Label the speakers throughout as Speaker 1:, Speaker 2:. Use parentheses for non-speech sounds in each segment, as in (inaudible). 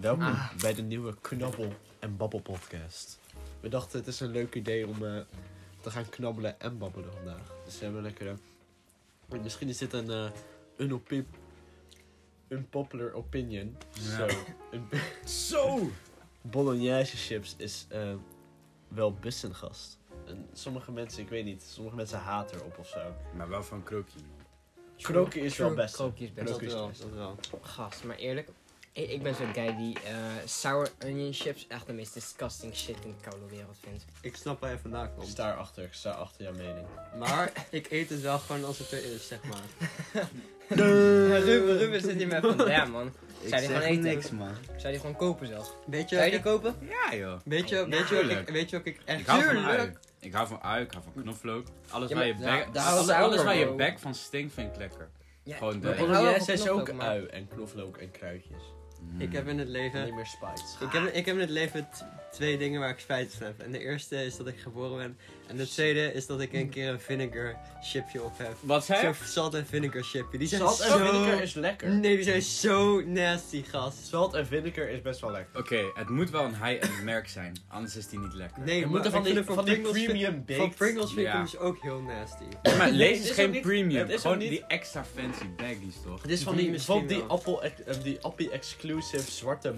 Speaker 1: Welkom
Speaker 2: Ah.
Speaker 1: bij de nieuwe Knabbel en Babbel podcast. We dachten het is een leuk idee om eh, te gaan knabbelen en babbelen vandaag. Dus we hebben lekker... eh, misschien is dit een eh unopi- unpopular opinion.
Speaker 3: Ja.
Speaker 1: Zo, een-
Speaker 3: Zo!
Speaker 1: Bolognese chips is eh, wel bissengast. En sommige mensen, ik weet niet, sommige mensen haten erop of zo.
Speaker 3: Maar wel van Krookje.
Speaker 1: Kroken is wel
Speaker 2: Kro-
Speaker 1: best.
Speaker 2: krookje is best.
Speaker 1: Kroken is
Speaker 2: Dat
Speaker 1: wel,
Speaker 2: is
Speaker 1: dat wel.
Speaker 2: Gast, maar eerlijk, ik, ik ben zo'n guy die eh, sour onion chips echt de meest disgusting shit in de koude wereld vindt.
Speaker 4: Ik snap waar je vandaan
Speaker 1: Ik
Speaker 4: komt.
Speaker 1: sta erachter, ik sta achter jouw mening.
Speaker 4: Maar ik eet het wel gewoon als het er is, zeg maar.
Speaker 2: Ruben, Ruben zit hier met van, (laughs) ja man,
Speaker 3: Ik
Speaker 2: Zou die
Speaker 3: zeg
Speaker 2: gewoon eten?
Speaker 3: niks, man.
Speaker 2: zou die gewoon kopen zelfs?
Speaker 4: Weet je,
Speaker 2: Zou je die
Speaker 4: ik,
Speaker 2: kopen?
Speaker 3: Ja, joh.
Speaker 4: weet je,
Speaker 2: Ja,
Speaker 4: weet je, wat ik,
Speaker 3: tuurlijk.
Speaker 4: weet je wat ik echt...
Speaker 3: Ik hou van
Speaker 4: Tuurlijk.
Speaker 3: ui. Ik hou van ui, ik hou van knoflook. Alles
Speaker 2: Ja,
Speaker 3: waar je
Speaker 2: maar- ja,
Speaker 3: bek,
Speaker 2: daar
Speaker 3: alles,
Speaker 2: hou ik
Speaker 3: alles
Speaker 2: ook
Speaker 3: waar je
Speaker 2: van.
Speaker 3: bek van stinkt vind ik lekker.
Speaker 2: Ja,
Speaker 3: Gewoon
Speaker 2: maar
Speaker 3: de-
Speaker 2: ik hou wel
Speaker 1: Bolognese
Speaker 2: van
Speaker 1: is ook
Speaker 2: knoflook, maar-
Speaker 1: ui en knoflook en kruidjes.
Speaker 4: Ik
Speaker 3: Hmm.
Speaker 4: heb in het leven...
Speaker 1: Niet meer spijt.
Speaker 4: Ik heb, ik heb in het leven t- twee dingen waar ik spijt van heb. En de eerste is dat ik geboren ben. En de tweede is dat ik een keer een vinegar chipje op heb.
Speaker 3: Wat zei je?
Speaker 4: Zo'n zalt en vinegar chipje. Die zijn
Speaker 1: Zalt en
Speaker 4: zo...
Speaker 1: vinegar is lekker.
Speaker 4: Nee, die zijn zo nasty, gast.
Speaker 1: Zalt en vinegar is best wel lekker.
Speaker 3: Oké, het moet wel een high-end (laughs) merk zijn, anders is die niet lekker.
Speaker 4: Nee,
Speaker 1: We
Speaker 4: maar
Speaker 1: moeten
Speaker 4: ik
Speaker 1: van die,
Speaker 4: vind het
Speaker 1: van die
Speaker 4: Pringles vind-
Speaker 1: premium
Speaker 4: Van
Speaker 1: baked...
Speaker 4: Pringles vind ik
Speaker 3: Ja.
Speaker 4: hem dus ook heel nasty.
Speaker 3: Maar
Speaker 1: Het
Speaker 3: lees
Speaker 1: is
Speaker 3: is
Speaker 1: ook
Speaker 3: geen
Speaker 1: niet- het
Speaker 3: premium,
Speaker 1: is ook
Speaker 3: gewoon
Speaker 1: niet-
Speaker 3: die extra fancy baggies toch?
Speaker 1: Het is van
Speaker 4: Die
Speaker 1: die,
Speaker 4: misschien
Speaker 1: van die,
Speaker 4: wel.
Speaker 1: appel, eh, die appie exclusive zwarte,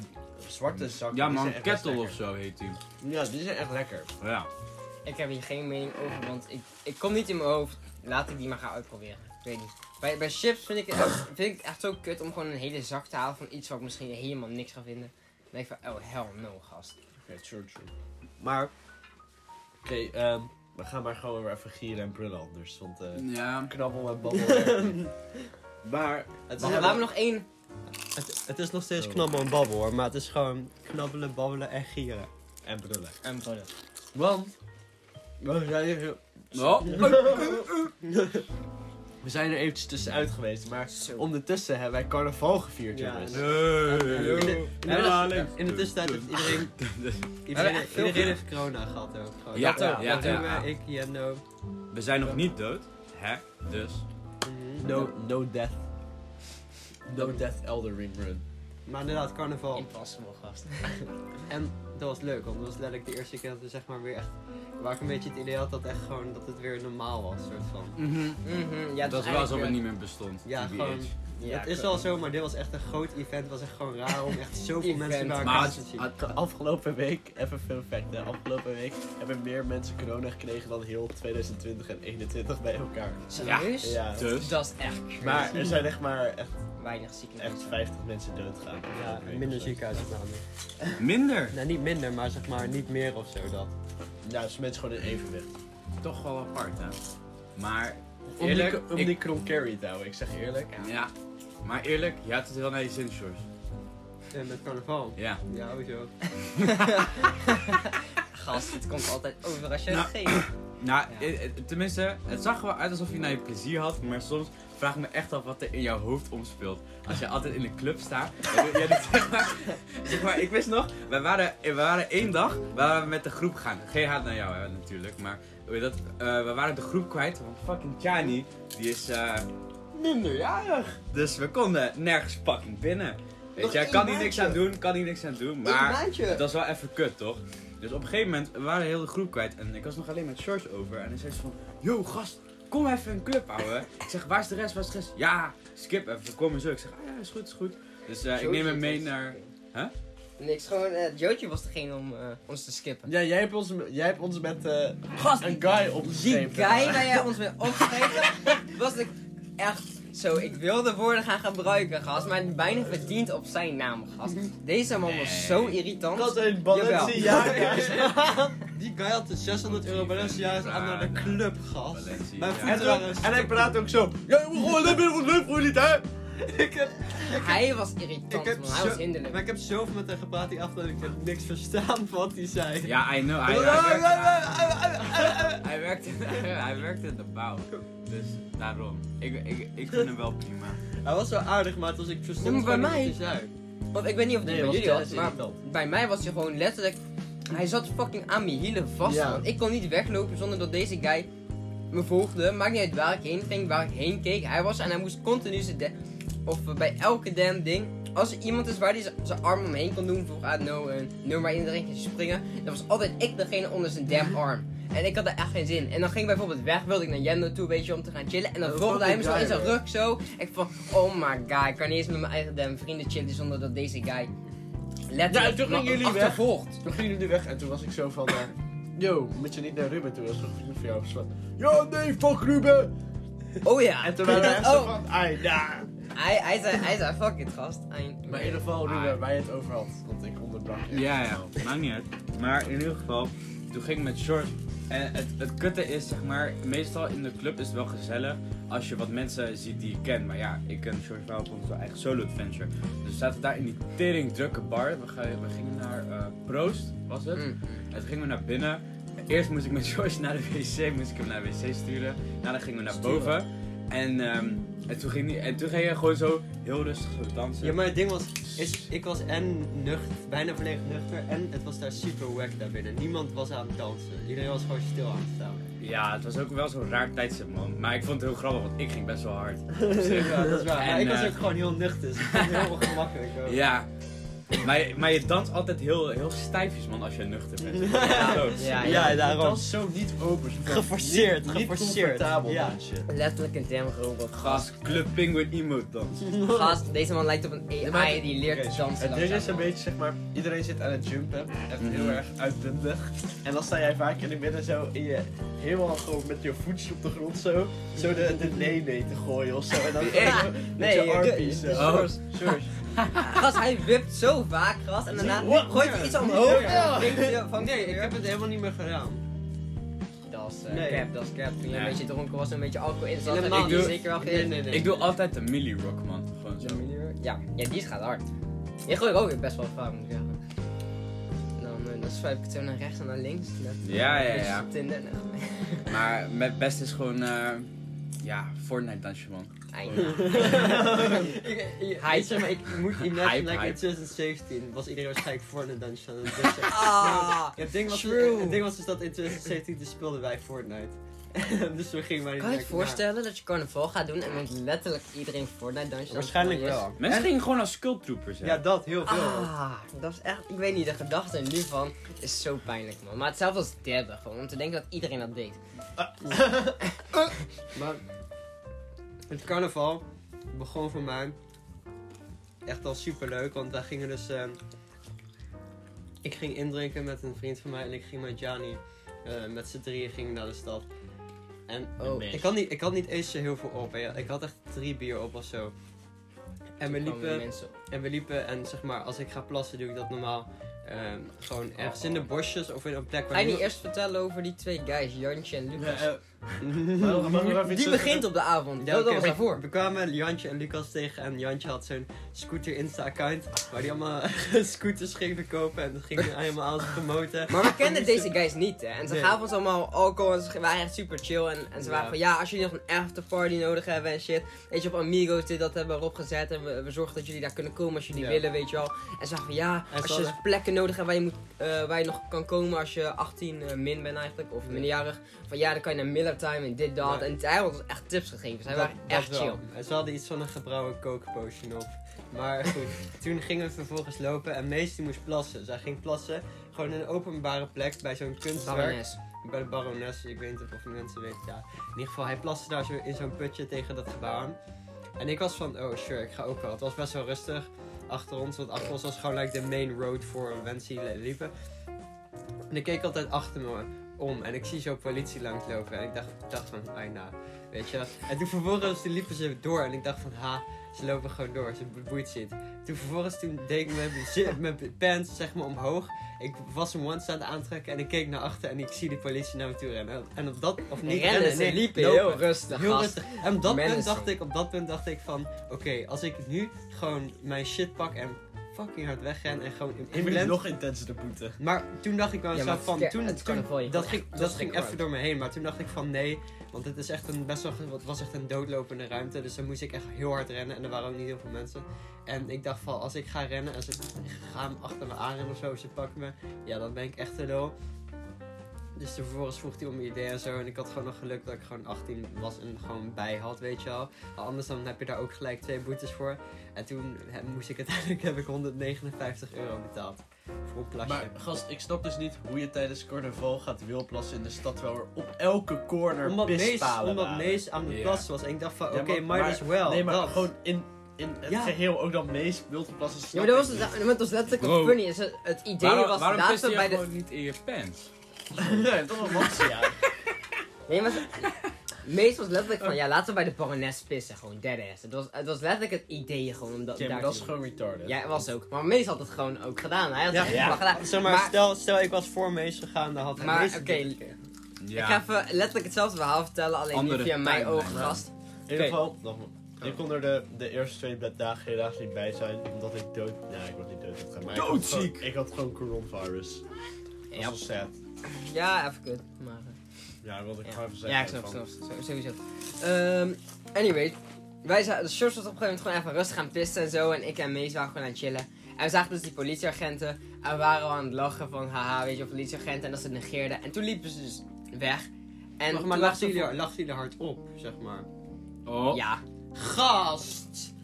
Speaker 1: zwarte zakken.
Speaker 3: Ja
Speaker 1: die
Speaker 3: man,
Speaker 1: zijn echt best
Speaker 3: kettle of
Speaker 1: lekker.
Speaker 3: zo heet die. Oh,
Speaker 1: Ja, die zijn echt lekker.
Speaker 3: Ja.
Speaker 2: Ik heb hier geen mening over, want ik, ik kom niet in mijn hoofd. Laat ik die maar gaan uitproberen. Ik weet niet. Bij, bij chips vind ik, het (clears throat) echt, vind ik het echt zo kut om gewoon een hele zak te halen van iets wat ik misschien helemaal niks ga vinden. Dan denk ik van, oh hell no, gast.
Speaker 1: Oké, true, true. Maar, (clears throat)
Speaker 4: (clears throat)
Speaker 1: oké, ehm, we gaan maar gewoon weer even gieren en brullen anders. Want eh
Speaker 3: Ja.
Speaker 1: knabbel en babbel. werken. maar,
Speaker 4: Het
Speaker 2: Maar laten we nog één.
Speaker 4: Het, het is nog steeds
Speaker 1: Oh.
Speaker 4: knabbelen en babbelen hoor, maar het is gewoon knabbelen, babbelen en gieren.
Speaker 1: en brullen.
Speaker 2: En brullen.
Speaker 1: Want, we zijn, even-
Speaker 3: Oh,
Speaker 1: we zijn er eventjes tussenuit geweest, maar
Speaker 2: Zo.
Speaker 1: ondertussen hebben wij carnaval gevierd,
Speaker 4: Ja,
Speaker 1: jongens. (laughs)
Speaker 4: en- In de tussentijd heeft iedereen, iedereen,
Speaker 2: echt veel gedaan.
Speaker 4: iedereen heeft corona gehad ook. Gewoon.
Speaker 3: Ja,
Speaker 4: dat
Speaker 3: ja,
Speaker 4: ook.
Speaker 3: ja,
Speaker 4: dat doen
Speaker 3: ja.
Speaker 4: we, ik, Jendo.
Speaker 3: (laughs) We zijn nog niet dood, hè? Dus.
Speaker 1: No, no death. No death Elder Ring Run.
Speaker 4: Maar inderdaad, carnaval.
Speaker 2: Impossible, gast.
Speaker 4: En dat was leuk, want dat was letterlijk de eerste keer dat we zeg maar weer echt... Waar ik een beetje het idee had dat, echt gewoon, dat het weer normaal was, soort van.
Speaker 2: Mhm, ja, het
Speaker 3: dat
Speaker 2: is
Speaker 3: was alsof het
Speaker 2: eigenlijk,
Speaker 3: niet meer bestond.
Speaker 4: Ja,
Speaker 3: TBH.
Speaker 4: gewoon...
Speaker 2: eh, ja,
Speaker 4: het is
Speaker 2: kut.
Speaker 4: wel zo, maar dit was echt een groot event. Het was echt gewoon raar om echt zoveel mensen
Speaker 2: Event.
Speaker 4: bij
Speaker 3: Maar
Speaker 4: elkaar te
Speaker 3: het,
Speaker 4: zien.
Speaker 3: het-
Speaker 1: Afgelopen week, even veel facten. Afgelopen week hebben meer mensen corona gekregen dan heel 2020 en 2021 bij elkaar.
Speaker 2: Serieus?
Speaker 1: Ja.
Speaker 3: dus.
Speaker 2: Dat is echt crazy.
Speaker 1: Maar er zijn echt maar echt,
Speaker 2: Weinig zieken.
Speaker 1: echt 50 mensen doodgaan.
Speaker 4: Ja, minder ziekenhuisopnames.
Speaker 3: Minder.
Speaker 4: Nou, niet minder, maar zeg maar niet meer of zo dat.
Speaker 1: Ja, dus mensen gewoon in evenwicht.
Speaker 3: Toch wel apart, hè? Maar
Speaker 1: Om
Speaker 3: eerlijk,
Speaker 1: die, om
Speaker 3: ik-
Speaker 1: die krom carry te houden, ik zeg eerlijk.
Speaker 3: ja. Maar eerlijk, je had het wel naar je zin, Sjors.
Speaker 4: En met carnaval.
Speaker 3: Ja.
Speaker 4: Ja, hoezo?
Speaker 2: Gast, het komt altijd over als je
Speaker 3: Nou.
Speaker 2: het geeft.
Speaker 3: Nou,
Speaker 2: Ja.
Speaker 3: eh, eh, tenminste, het zag er wel uit alsof je naar je plezier had, maar soms vraag ik me echt af wat er in jouw hoofd omspeelt.
Speaker 4: (laughs)
Speaker 3: Als je altijd in de club staat. jij doet- jij doet zeg, maar, (laughs) zeg maar, ik wist nog, wij waren, eh, we waren één dag waren we met de groep gaan. Geen haat naar jou hè, natuurlijk, maar hoe heet dat, Eh, we waren de groep kwijt, want fucking Chani, die is eh, minderjarig. Dus we konden nergens fucking binnen. Weet
Speaker 4: Nog
Speaker 3: je,
Speaker 4: één
Speaker 3: kan hier niks
Speaker 4: maandje.
Speaker 3: aan doen, kan hier niks aan doen,
Speaker 4: Een
Speaker 3: maar...
Speaker 4: maandje!
Speaker 3: Dat is wel even kut, toch? Dus op een gegeven moment we waren de hele groep kwijt en ik was nog alleen met George over. En hij zei ze van, yo gast, kom even een club houden. Ik zeg, waar is de rest, waar is de rest? Ja, skip even, kom en zo. Ik zeg, ah ja, is goed, is goed. Dus eh, ik neem hem mee naar... Huh?
Speaker 2: Niks, gewoon, eh Jootje was degene om eh, ons te skippen.
Speaker 1: Ja, jij hebt ons, jij hebt ons met eh,
Speaker 2: Gast,
Speaker 1: een guy
Speaker 2: die
Speaker 1: opgeschreven.
Speaker 2: guy waar jij (laughs) ons mee opgegeven was ik echt zo. Ik wilde woorden gaan gebruiken, gast, maar bijna verdiend op zijn naam, gast. Deze man was zo irritant.
Speaker 1: Dat een Balenciaga.
Speaker 4: Die guy had de 600 euro Balenciaga's aan naar de club, gast.
Speaker 3: Balenciaga.
Speaker 4: Mijn
Speaker 1: en,
Speaker 4: voeten
Speaker 1: dan,
Speaker 4: waren...
Speaker 1: en hij praat ook zo. Ja, we gewoon hebben ons leuk voor jullie, hè?
Speaker 4: Ik heb,
Speaker 2: Hij was irritant,
Speaker 4: ik heb
Speaker 2: man. Hij was
Speaker 4: zo...
Speaker 2: hinderlijk.
Speaker 4: Maar ik heb zoveel met hem gepraat die afgelopen ik heb niks verstaan (laughs) wat hij zei.
Speaker 3: Ja, I know. Hij, hij, werkte, hij, werkte, (laughs) hij werkte in de bouw. Dus daarom. Ik, ik, ik vind hem wel prima.
Speaker 4: Hij was wel aardig, maar het was ik
Speaker 2: Ja,
Speaker 4: verstond
Speaker 2: maar bij
Speaker 4: gewoon niet
Speaker 2: mij-
Speaker 4: wat hij zei.
Speaker 2: Want ik weet niet of het
Speaker 1: Nee,
Speaker 2: bij
Speaker 1: was
Speaker 2: jullie was,
Speaker 1: tijdens
Speaker 2: maar
Speaker 1: irritant.
Speaker 2: bij mij was hij gewoon letterlijk. Hij zat fucking aan mijn hielen vast,
Speaker 1: Ja.
Speaker 2: man. Ik kon niet weglopen zonder dat deze guy me volgde, maakt niet uit waar ik heen ging, waar ik heen keek. Hij was en hij moest continu zijn da- Of eh, bij elke damn ding. Als er iemand is waar hij z- zijn arm omheen kon doen, voor ah, no, een nummer in de ring te springen. Dan was altijd ik degene onder zijn damn arm. En ik had daar echt geen zin. in. En dan ging ik bijvoorbeeld weg, wilde ik naar Jendo toe, weet je, om te gaan chillen. En dan
Speaker 5: Dat
Speaker 2: rolde hij me
Speaker 5: vond
Speaker 2: zo
Speaker 5: ik
Speaker 2: in zijn
Speaker 5: raar,
Speaker 2: rug zo. Ik van, oh my god, ik kan niet eens met mijn eigen damn vrienden chillen zonder dat deze guy... Letterlijk,
Speaker 1: Ja, toen
Speaker 2: me
Speaker 1: gingen jullie weg.
Speaker 2: achtervolgt.
Speaker 1: Toen gingen jullie weg en toen was ik zo van... eh, Yo, moet je niet naar Ruben toe? Dat is een vriend van jou. Dus van, Ja, nee, fuck Ruben!
Speaker 2: Oh ja.
Speaker 1: En toen waren we echt zo
Speaker 2: (laughs) Oh.
Speaker 1: van... Ai, nah.
Speaker 2: Hij, hij zei, hij zei, fuck it gast. Hij-
Speaker 1: Maar in ieder geval, Ruben,
Speaker 2: Ah.
Speaker 1: waar wij het over had. Want ik onderbrak je.
Speaker 3: Ja, ja, maakt niet uit. Maar in ieder geval, toen ging ik met shorts. En het, het kutte is, zeg maar, meestal in de club is het wel gezellig als je wat mensen ziet die je kent. Maar ja, ik ken George wel van zijn eigen solo adventure. Dus we zaten daar in die tering drukke bar. We, ge- we gingen naar eh, Proost, was het.
Speaker 2: Mm.
Speaker 3: En toen gingen we naar binnen. Eerst moest ik met (laughs) George naar de wc, moest ik hem naar de wc sturen. Daarna gingen we naar boven. En, ehm, en, toen ging hij, en toen ging hij gewoon zo heel rustig zo dansen.
Speaker 4: Ja, maar het ding was, is, ik was en nuchter, bijna volledig nuchter, en het was daar super wack daar binnen. Niemand was aan het dansen. Iedereen was gewoon stil aan het staan.
Speaker 3: Ja, het was ook wel zo'n raar tijdstip, man. Maar ik vond het heel grappig, want ik ging best wel hard. Op zich.
Speaker 4: Ja, dat is waar.
Speaker 3: En,
Speaker 4: maar ik was
Speaker 3: eh,
Speaker 4: ook gewoon heel nuchter, dus ik vond het heel ongemakkelijk. ook.
Speaker 3: Ja. Maar, je- maar je danst altijd heel, heel stijfjes, man, als je nuchter bent. Ja, zo.
Speaker 2: Ja, ja.
Speaker 4: Ja,
Speaker 1: Dat
Speaker 4: daarom.
Speaker 1: was zo niet open. Zo van,
Speaker 4: Geforceerd,
Speaker 1: niet- Niet
Speaker 4: geforceerd.
Speaker 1: comfortabel,
Speaker 4: Ja.
Speaker 1: dat shit.
Speaker 2: Letterlijk een damn robot.
Speaker 3: Gast, Club Penguin Emo dans.
Speaker 2: Gast, deze man lijkt op een
Speaker 1: maar
Speaker 2: AI
Speaker 1: het-
Speaker 2: die leert
Speaker 1: Oké,
Speaker 2: te dansen.
Speaker 1: Het ding is dus
Speaker 2: langzaam,
Speaker 1: een
Speaker 2: man.
Speaker 1: beetje, zeg maar, iedereen zit aan het jumpen. Echt heel
Speaker 3: Mhm.
Speaker 1: erg uitbundig. En dan sta jij vaak in het midden zo in je, helemaal gewoon met je voetjes op de grond zo. Zo de, de nee-nee te gooien of zo. En
Speaker 2: (laughs)
Speaker 1: dan gewoon zo met
Speaker 2: Nee,
Speaker 1: je
Speaker 2: je-
Speaker 1: armpjes zo.
Speaker 3: Oh.
Speaker 1: (laughs) George.
Speaker 2: Gast, hij wipt zo vaak, gast. En daarna
Speaker 1: Wat?
Speaker 2: gooit hij iets omhoog.
Speaker 4: Ja.
Speaker 2: en dan denkt hij van,
Speaker 4: Nee, ik heb het helemaal niet meer gedaan.
Speaker 2: Dat is eh,
Speaker 4: Nee.
Speaker 2: cap, dat is cap. Toen je een
Speaker 3: Nee.
Speaker 2: beetje dronken was en een beetje alcohol in zat, heb
Speaker 4: Helemaal
Speaker 2: ik die
Speaker 3: niet.
Speaker 2: zeker wel
Speaker 4: Nee,
Speaker 2: gegeven.
Speaker 4: nee, nee.
Speaker 3: Ik doe altijd de Millie Rock, man. Gewoon zo.
Speaker 2: Ja, ja, die is gaat hard. Die gooi ik ook weer best wel vaak, moet ik zeggen. Dan, eh, dan swipe ik het zo naar rechts en naar links. Net,
Speaker 3: Ja, ja, ja.
Speaker 2: Op Tinder.
Speaker 3: Maar met best is gewoon, eh, ja, Fortnite dansje, man.
Speaker 2: Eindelijk.
Speaker 4: Hij zeg maar, ik
Speaker 2: (laughs)
Speaker 4: moet imagine,
Speaker 3: Hype,
Speaker 4: like in
Speaker 3: hype.
Speaker 4: 2017 was iedereen waarschijnlijk Fortnite Dungeon aan het
Speaker 2: (laughs)
Speaker 4: dansen.
Speaker 2: Ah,
Speaker 4: Ja, het, ding was,
Speaker 2: True.
Speaker 4: het ding was dus dat in 2017 dus speelden wij Fortnite. (laughs) dus we gingen maar niet
Speaker 2: Kan je je
Speaker 4: lekker na.
Speaker 2: voorstellen dat je carnaval gaat doen en met letterlijk iedereen Fortnite dansje?
Speaker 4: Waarschijnlijk wel.
Speaker 3: Mensen
Speaker 4: En-
Speaker 3: gingen gewoon als cult troopers, hè.
Speaker 4: Ja, dat, heel veel.
Speaker 2: Ah, dat is echt, ik weet niet, de gedachte er nu van is zo pijnlijk man. Maar hetzelfde als derde gewoon, om te denken dat iedereen dat deed.
Speaker 4: Maar het carnaval begon voor mij echt al super leuk, want wij gingen dus. ehm, ik ging indrinken met een vriend van mij en ik ging met Jani. eh, met z'n drieën gingen we naar de stad. En
Speaker 2: Oh,
Speaker 4: ik had niet, ik had niet eens zo heel veel op. hè. Ik had echt drie bier op of zo. En we
Speaker 2: toen kwamen de
Speaker 4: liepen,
Speaker 2: mensen op.
Speaker 4: en we liepen en zeg maar, als ik ga plassen doe ik dat normaal. ehm, gewoon ergens in de bosjes of in een plek
Speaker 2: Ga
Speaker 4: waar
Speaker 2: je niet
Speaker 4: niemand-
Speaker 2: eerst vertellen over die twee guys, Jantje en Lucas? die
Speaker 1: eh, Die
Speaker 2: begint op de avond,
Speaker 4: Ja,
Speaker 2: dat,
Speaker 4: oké,
Speaker 2: dat was
Speaker 4: we-
Speaker 2: daarvoor.
Speaker 4: We kwamen Jantje en Lucas tegen en Jantje had zo'n scooter Insta-account waar die allemaal (laughs) scooters ging verkopen en dat
Speaker 2: (laughs)
Speaker 4: ging hij helemaal alles promoten.
Speaker 2: Maar we kenden
Speaker 4: moesten-
Speaker 2: deze guys niet, hè? En ze
Speaker 4: Nee.
Speaker 2: gaven ons allemaal alcohol en ze waren echt super chill. En, en ze waren
Speaker 4: Ja.
Speaker 2: van, ja, als jullie nog een afterparty nodig hebben en shit. Weet je, op Amigos dit, dat hebben we erop gezet. En we, we zorgen dat jullie daar kunnen komen als jullie
Speaker 4: Ja.
Speaker 2: willen, weet je wel. En ze waren van, ja,
Speaker 4: En ze
Speaker 2: als je
Speaker 4: hadden-
Speaker 2: plekken nodig hebt waar je, moet, eh, waar je nog kan komen als je 18 eh, min bent eigenlijk. Of minderjarig. Van, ja, dan kan je naar Miller Time en dit, dat.
Speaker 4: Ja.
Speaker 2: En hij had ons echt tips gegeven. Zij waren
Speaker 4: Dat-
Speaker 2: echt
Speaker 4: dat wel.
Speaker 2: chill.
Speaker 4: En ze hadden iets van een gebrouwen coke potion op.
Speaker 2: (laughs)
Speaker 4: Maar goed, toen gingen we vervolgens lopen en Mees die moest plassen. Zij ging plassen, gewoon in een openbare plek bij zo'n kunstwerk.
Speaker 2: Barones.
Speaker 4: Bij de barones, ik weet niet of mensen weten. Ja. In ieder geval, hij plaste daar zo in zo'n putje tegen dat gebouw aan. En ik was van, oh sure, ik ga ook wel. Het was best wel rustig achter ons, want achter ons was gewoon like de main road voor mensen die li- liepen. En ik keek altijd achter me om en ik zie zo politie langslopen en ik dacht, dacht van, bijna, weet je. En toen vervolgens toen liepen ze door en ik dacht van, ha, ze lopen gewoon door, ze bo- boeit ze niet. Toen vervolgens toen deed ik mijn, zi- mijn pants zeg maar omhoog ik was een one aan het aantrekken en ik keek naar achter en ik zie de politie naar me toe rennen. En op dat, of niet
Speaker 2: Rennen, ze
Speaker 4: nee,
Speaker 2: liepen
Speaker 4: lopen.
Speaker 2: heel rustig,
Speaker 4: Heel
Speaker 2: gast.
Speaker 4: rustig. En op dat,
Speaker 2: Mensen.
Speaker 4: punt dacht ik, op dat punt dacht ik van, oké, als ik nu gewoon mijn shit pak en fucking hard wegren en gewoon in
Speaker 1: begint
Speaker 4: inblend.
Speaker 1: nog intenser te boeten.
Speaker 4: Maar toen dacht ik wel
Speaker 2: Ja,
Speaker 4: zo
Speaker 2: maar
Speaker 4: van,
Speaker 2: het-
Speaker 4: toen,
Speaker 2: het
Speaker 4: toen-
Speaker 2: carnaval, je
Speaker 4: dat
Speaker 2: kan
Speaker 4: ging,
Speaker 2: echt- dat
Speaker 4: dat ging
Speaker 2: ging
Speaker 4: even door me heen. Maar toen dacht ik van, nee, want het is echt een best wel, ge- het was echt een doodlopende ruimte. Dus dan moest ik echt heel hard rennen en er waren ook niet heel veel mensen. En ik dacht van, als ik ga rennen en ze gaan achter me aanrennen of zo, ze pakken me, ja, dan ben ik echt te lul. Dus vervolgens vroeg hij om mijn idee en zo. En ik had gewoon nog geluk dat ik gewoon 18 was en gewoon bij had, weet je wel. Maar Anders dan heb je daar ook gelijk twee boetes voor. En toen hè, moest ik uiteindelijk, (laughs) heb ik 159 euro betaald. Voor een plasje.
Speaker 1: Maar gast, ik snap dus niet hoe je tijdens carnaval gaat wilplassen in de stad, terwijl er op elke corner
Speaker 4: omdat Nees,
Speaker 1: pispalen
Speaker 4: omdat
Speaker 1: waren.
Speaker 4: Nees aan de
Speaker 3: Ja.
Speaker 4: plas was. En ik dacht van, oké,
Speaker 1: Ja, maar-
Speaker 4: might
Speaker 1: maar-
Speaker 4: as well.
Speaker 1: Nee, maar
Speaker 4: dat.
Speaker 1: gewoon in, in het
Speaker 4: Ja.
Speaker 1: geheel ook dat Nees wilplassen.
Speaker 2: Ja, maar dat was, het, maar het was letterlijk
Speaker 3: Bro.
Speaker 2: wat funny. is. Het, het idee
Speaker 3: waarom
Speaker 2: was
Speaker 3: waarom piste
Speaker 2: later
Speaker 3: je
Speaker 2: bij de...
Speaker 3: gewoon niet in je pants?
Speaker 1: (laughs) ja, dat was Maxi, ja.
Speaker 2: Nee, maar Mees was letterlijk van, ja, laten we bij de barones pissen. Gewoon dead ass. Het was, het was letterlijk het idee gewoon om dat
Speaker 1: Ja, maar
Speaker 2: daar te
Speaker 1: dat is
Speaker 2: doen.
Speaker 1: gewoon retarded.
Speaker 2: Ja, het was ook. Maar Mees had het gewoon ook gedaan. Hij had
Speaker 4: Ja,
Speaker 2: het echt
Speaker 1: ja.
Speaker 2: wel gedaan.
Speaker 4: Zeg maar,
Speaker 2: Maar-
Speaker 4: stel, stel ik was voor Mees gegaan, dan had hij
Speaker 2: Maar,
Speaker 4: Mees het
Speaker 2: oké,
Speaker 4: niet.
Speaker 3: Ja.
Speaker 2: Ik ga even letterlijk hetzelfde verhaal vertellen, alleen
Speaker 3: Andere
Speaker 2: nu via mijn
Speaker 3: timeline.
Speaker 2: ogen gast.
Speaker 1: In ieder geval, dan, ik kon er de, de eerste twee dagen helaas niet bij zijn, omdat ik dood... Ja, ik was niet dood gegaan, maar ik had gewoon-
Speaker 3: Doodziek!
Speaker 1: Ik had gewoon coronavirus. Dat is
Speaker 2: Ja.
Speaker 1: wel sad.
Speaker 2: Ja, even kut. Maar, eh,
Speaker 1: Ja, wilde ik
Speaker 2: Ja.
Speaker 1: gewoon even zeggen.
Speaker 2: ja, ik snap
Speaker 1: van-
Speaker 2: het. snap het, Sowieso. Ehm anyway, wij zaten, de shorts was op een gegeven moment gewoon even rustig aan pissen en zo. En ik en Mees waren gewoon aan het chillen. En we zagen dus die politieagenten. En we waren al aan het lachen van, haha, weet je, wel, politieagenten. En dat ze het negeerden. En toen liepen ze dus weg. En
Speaker 4: Wacht,
Speaker 2: toen
Speaker 4: maar
Speaker 2: was
Speaker 4: lacht
Speaker 2: er
Speaker 4: jullie,
Speaker 2: voor-
Speaker 4: lacht jullie hard op, zeg maar.
Speaker 3: Oh.
Speaker 2: Ja.
Speaker 4: Gast!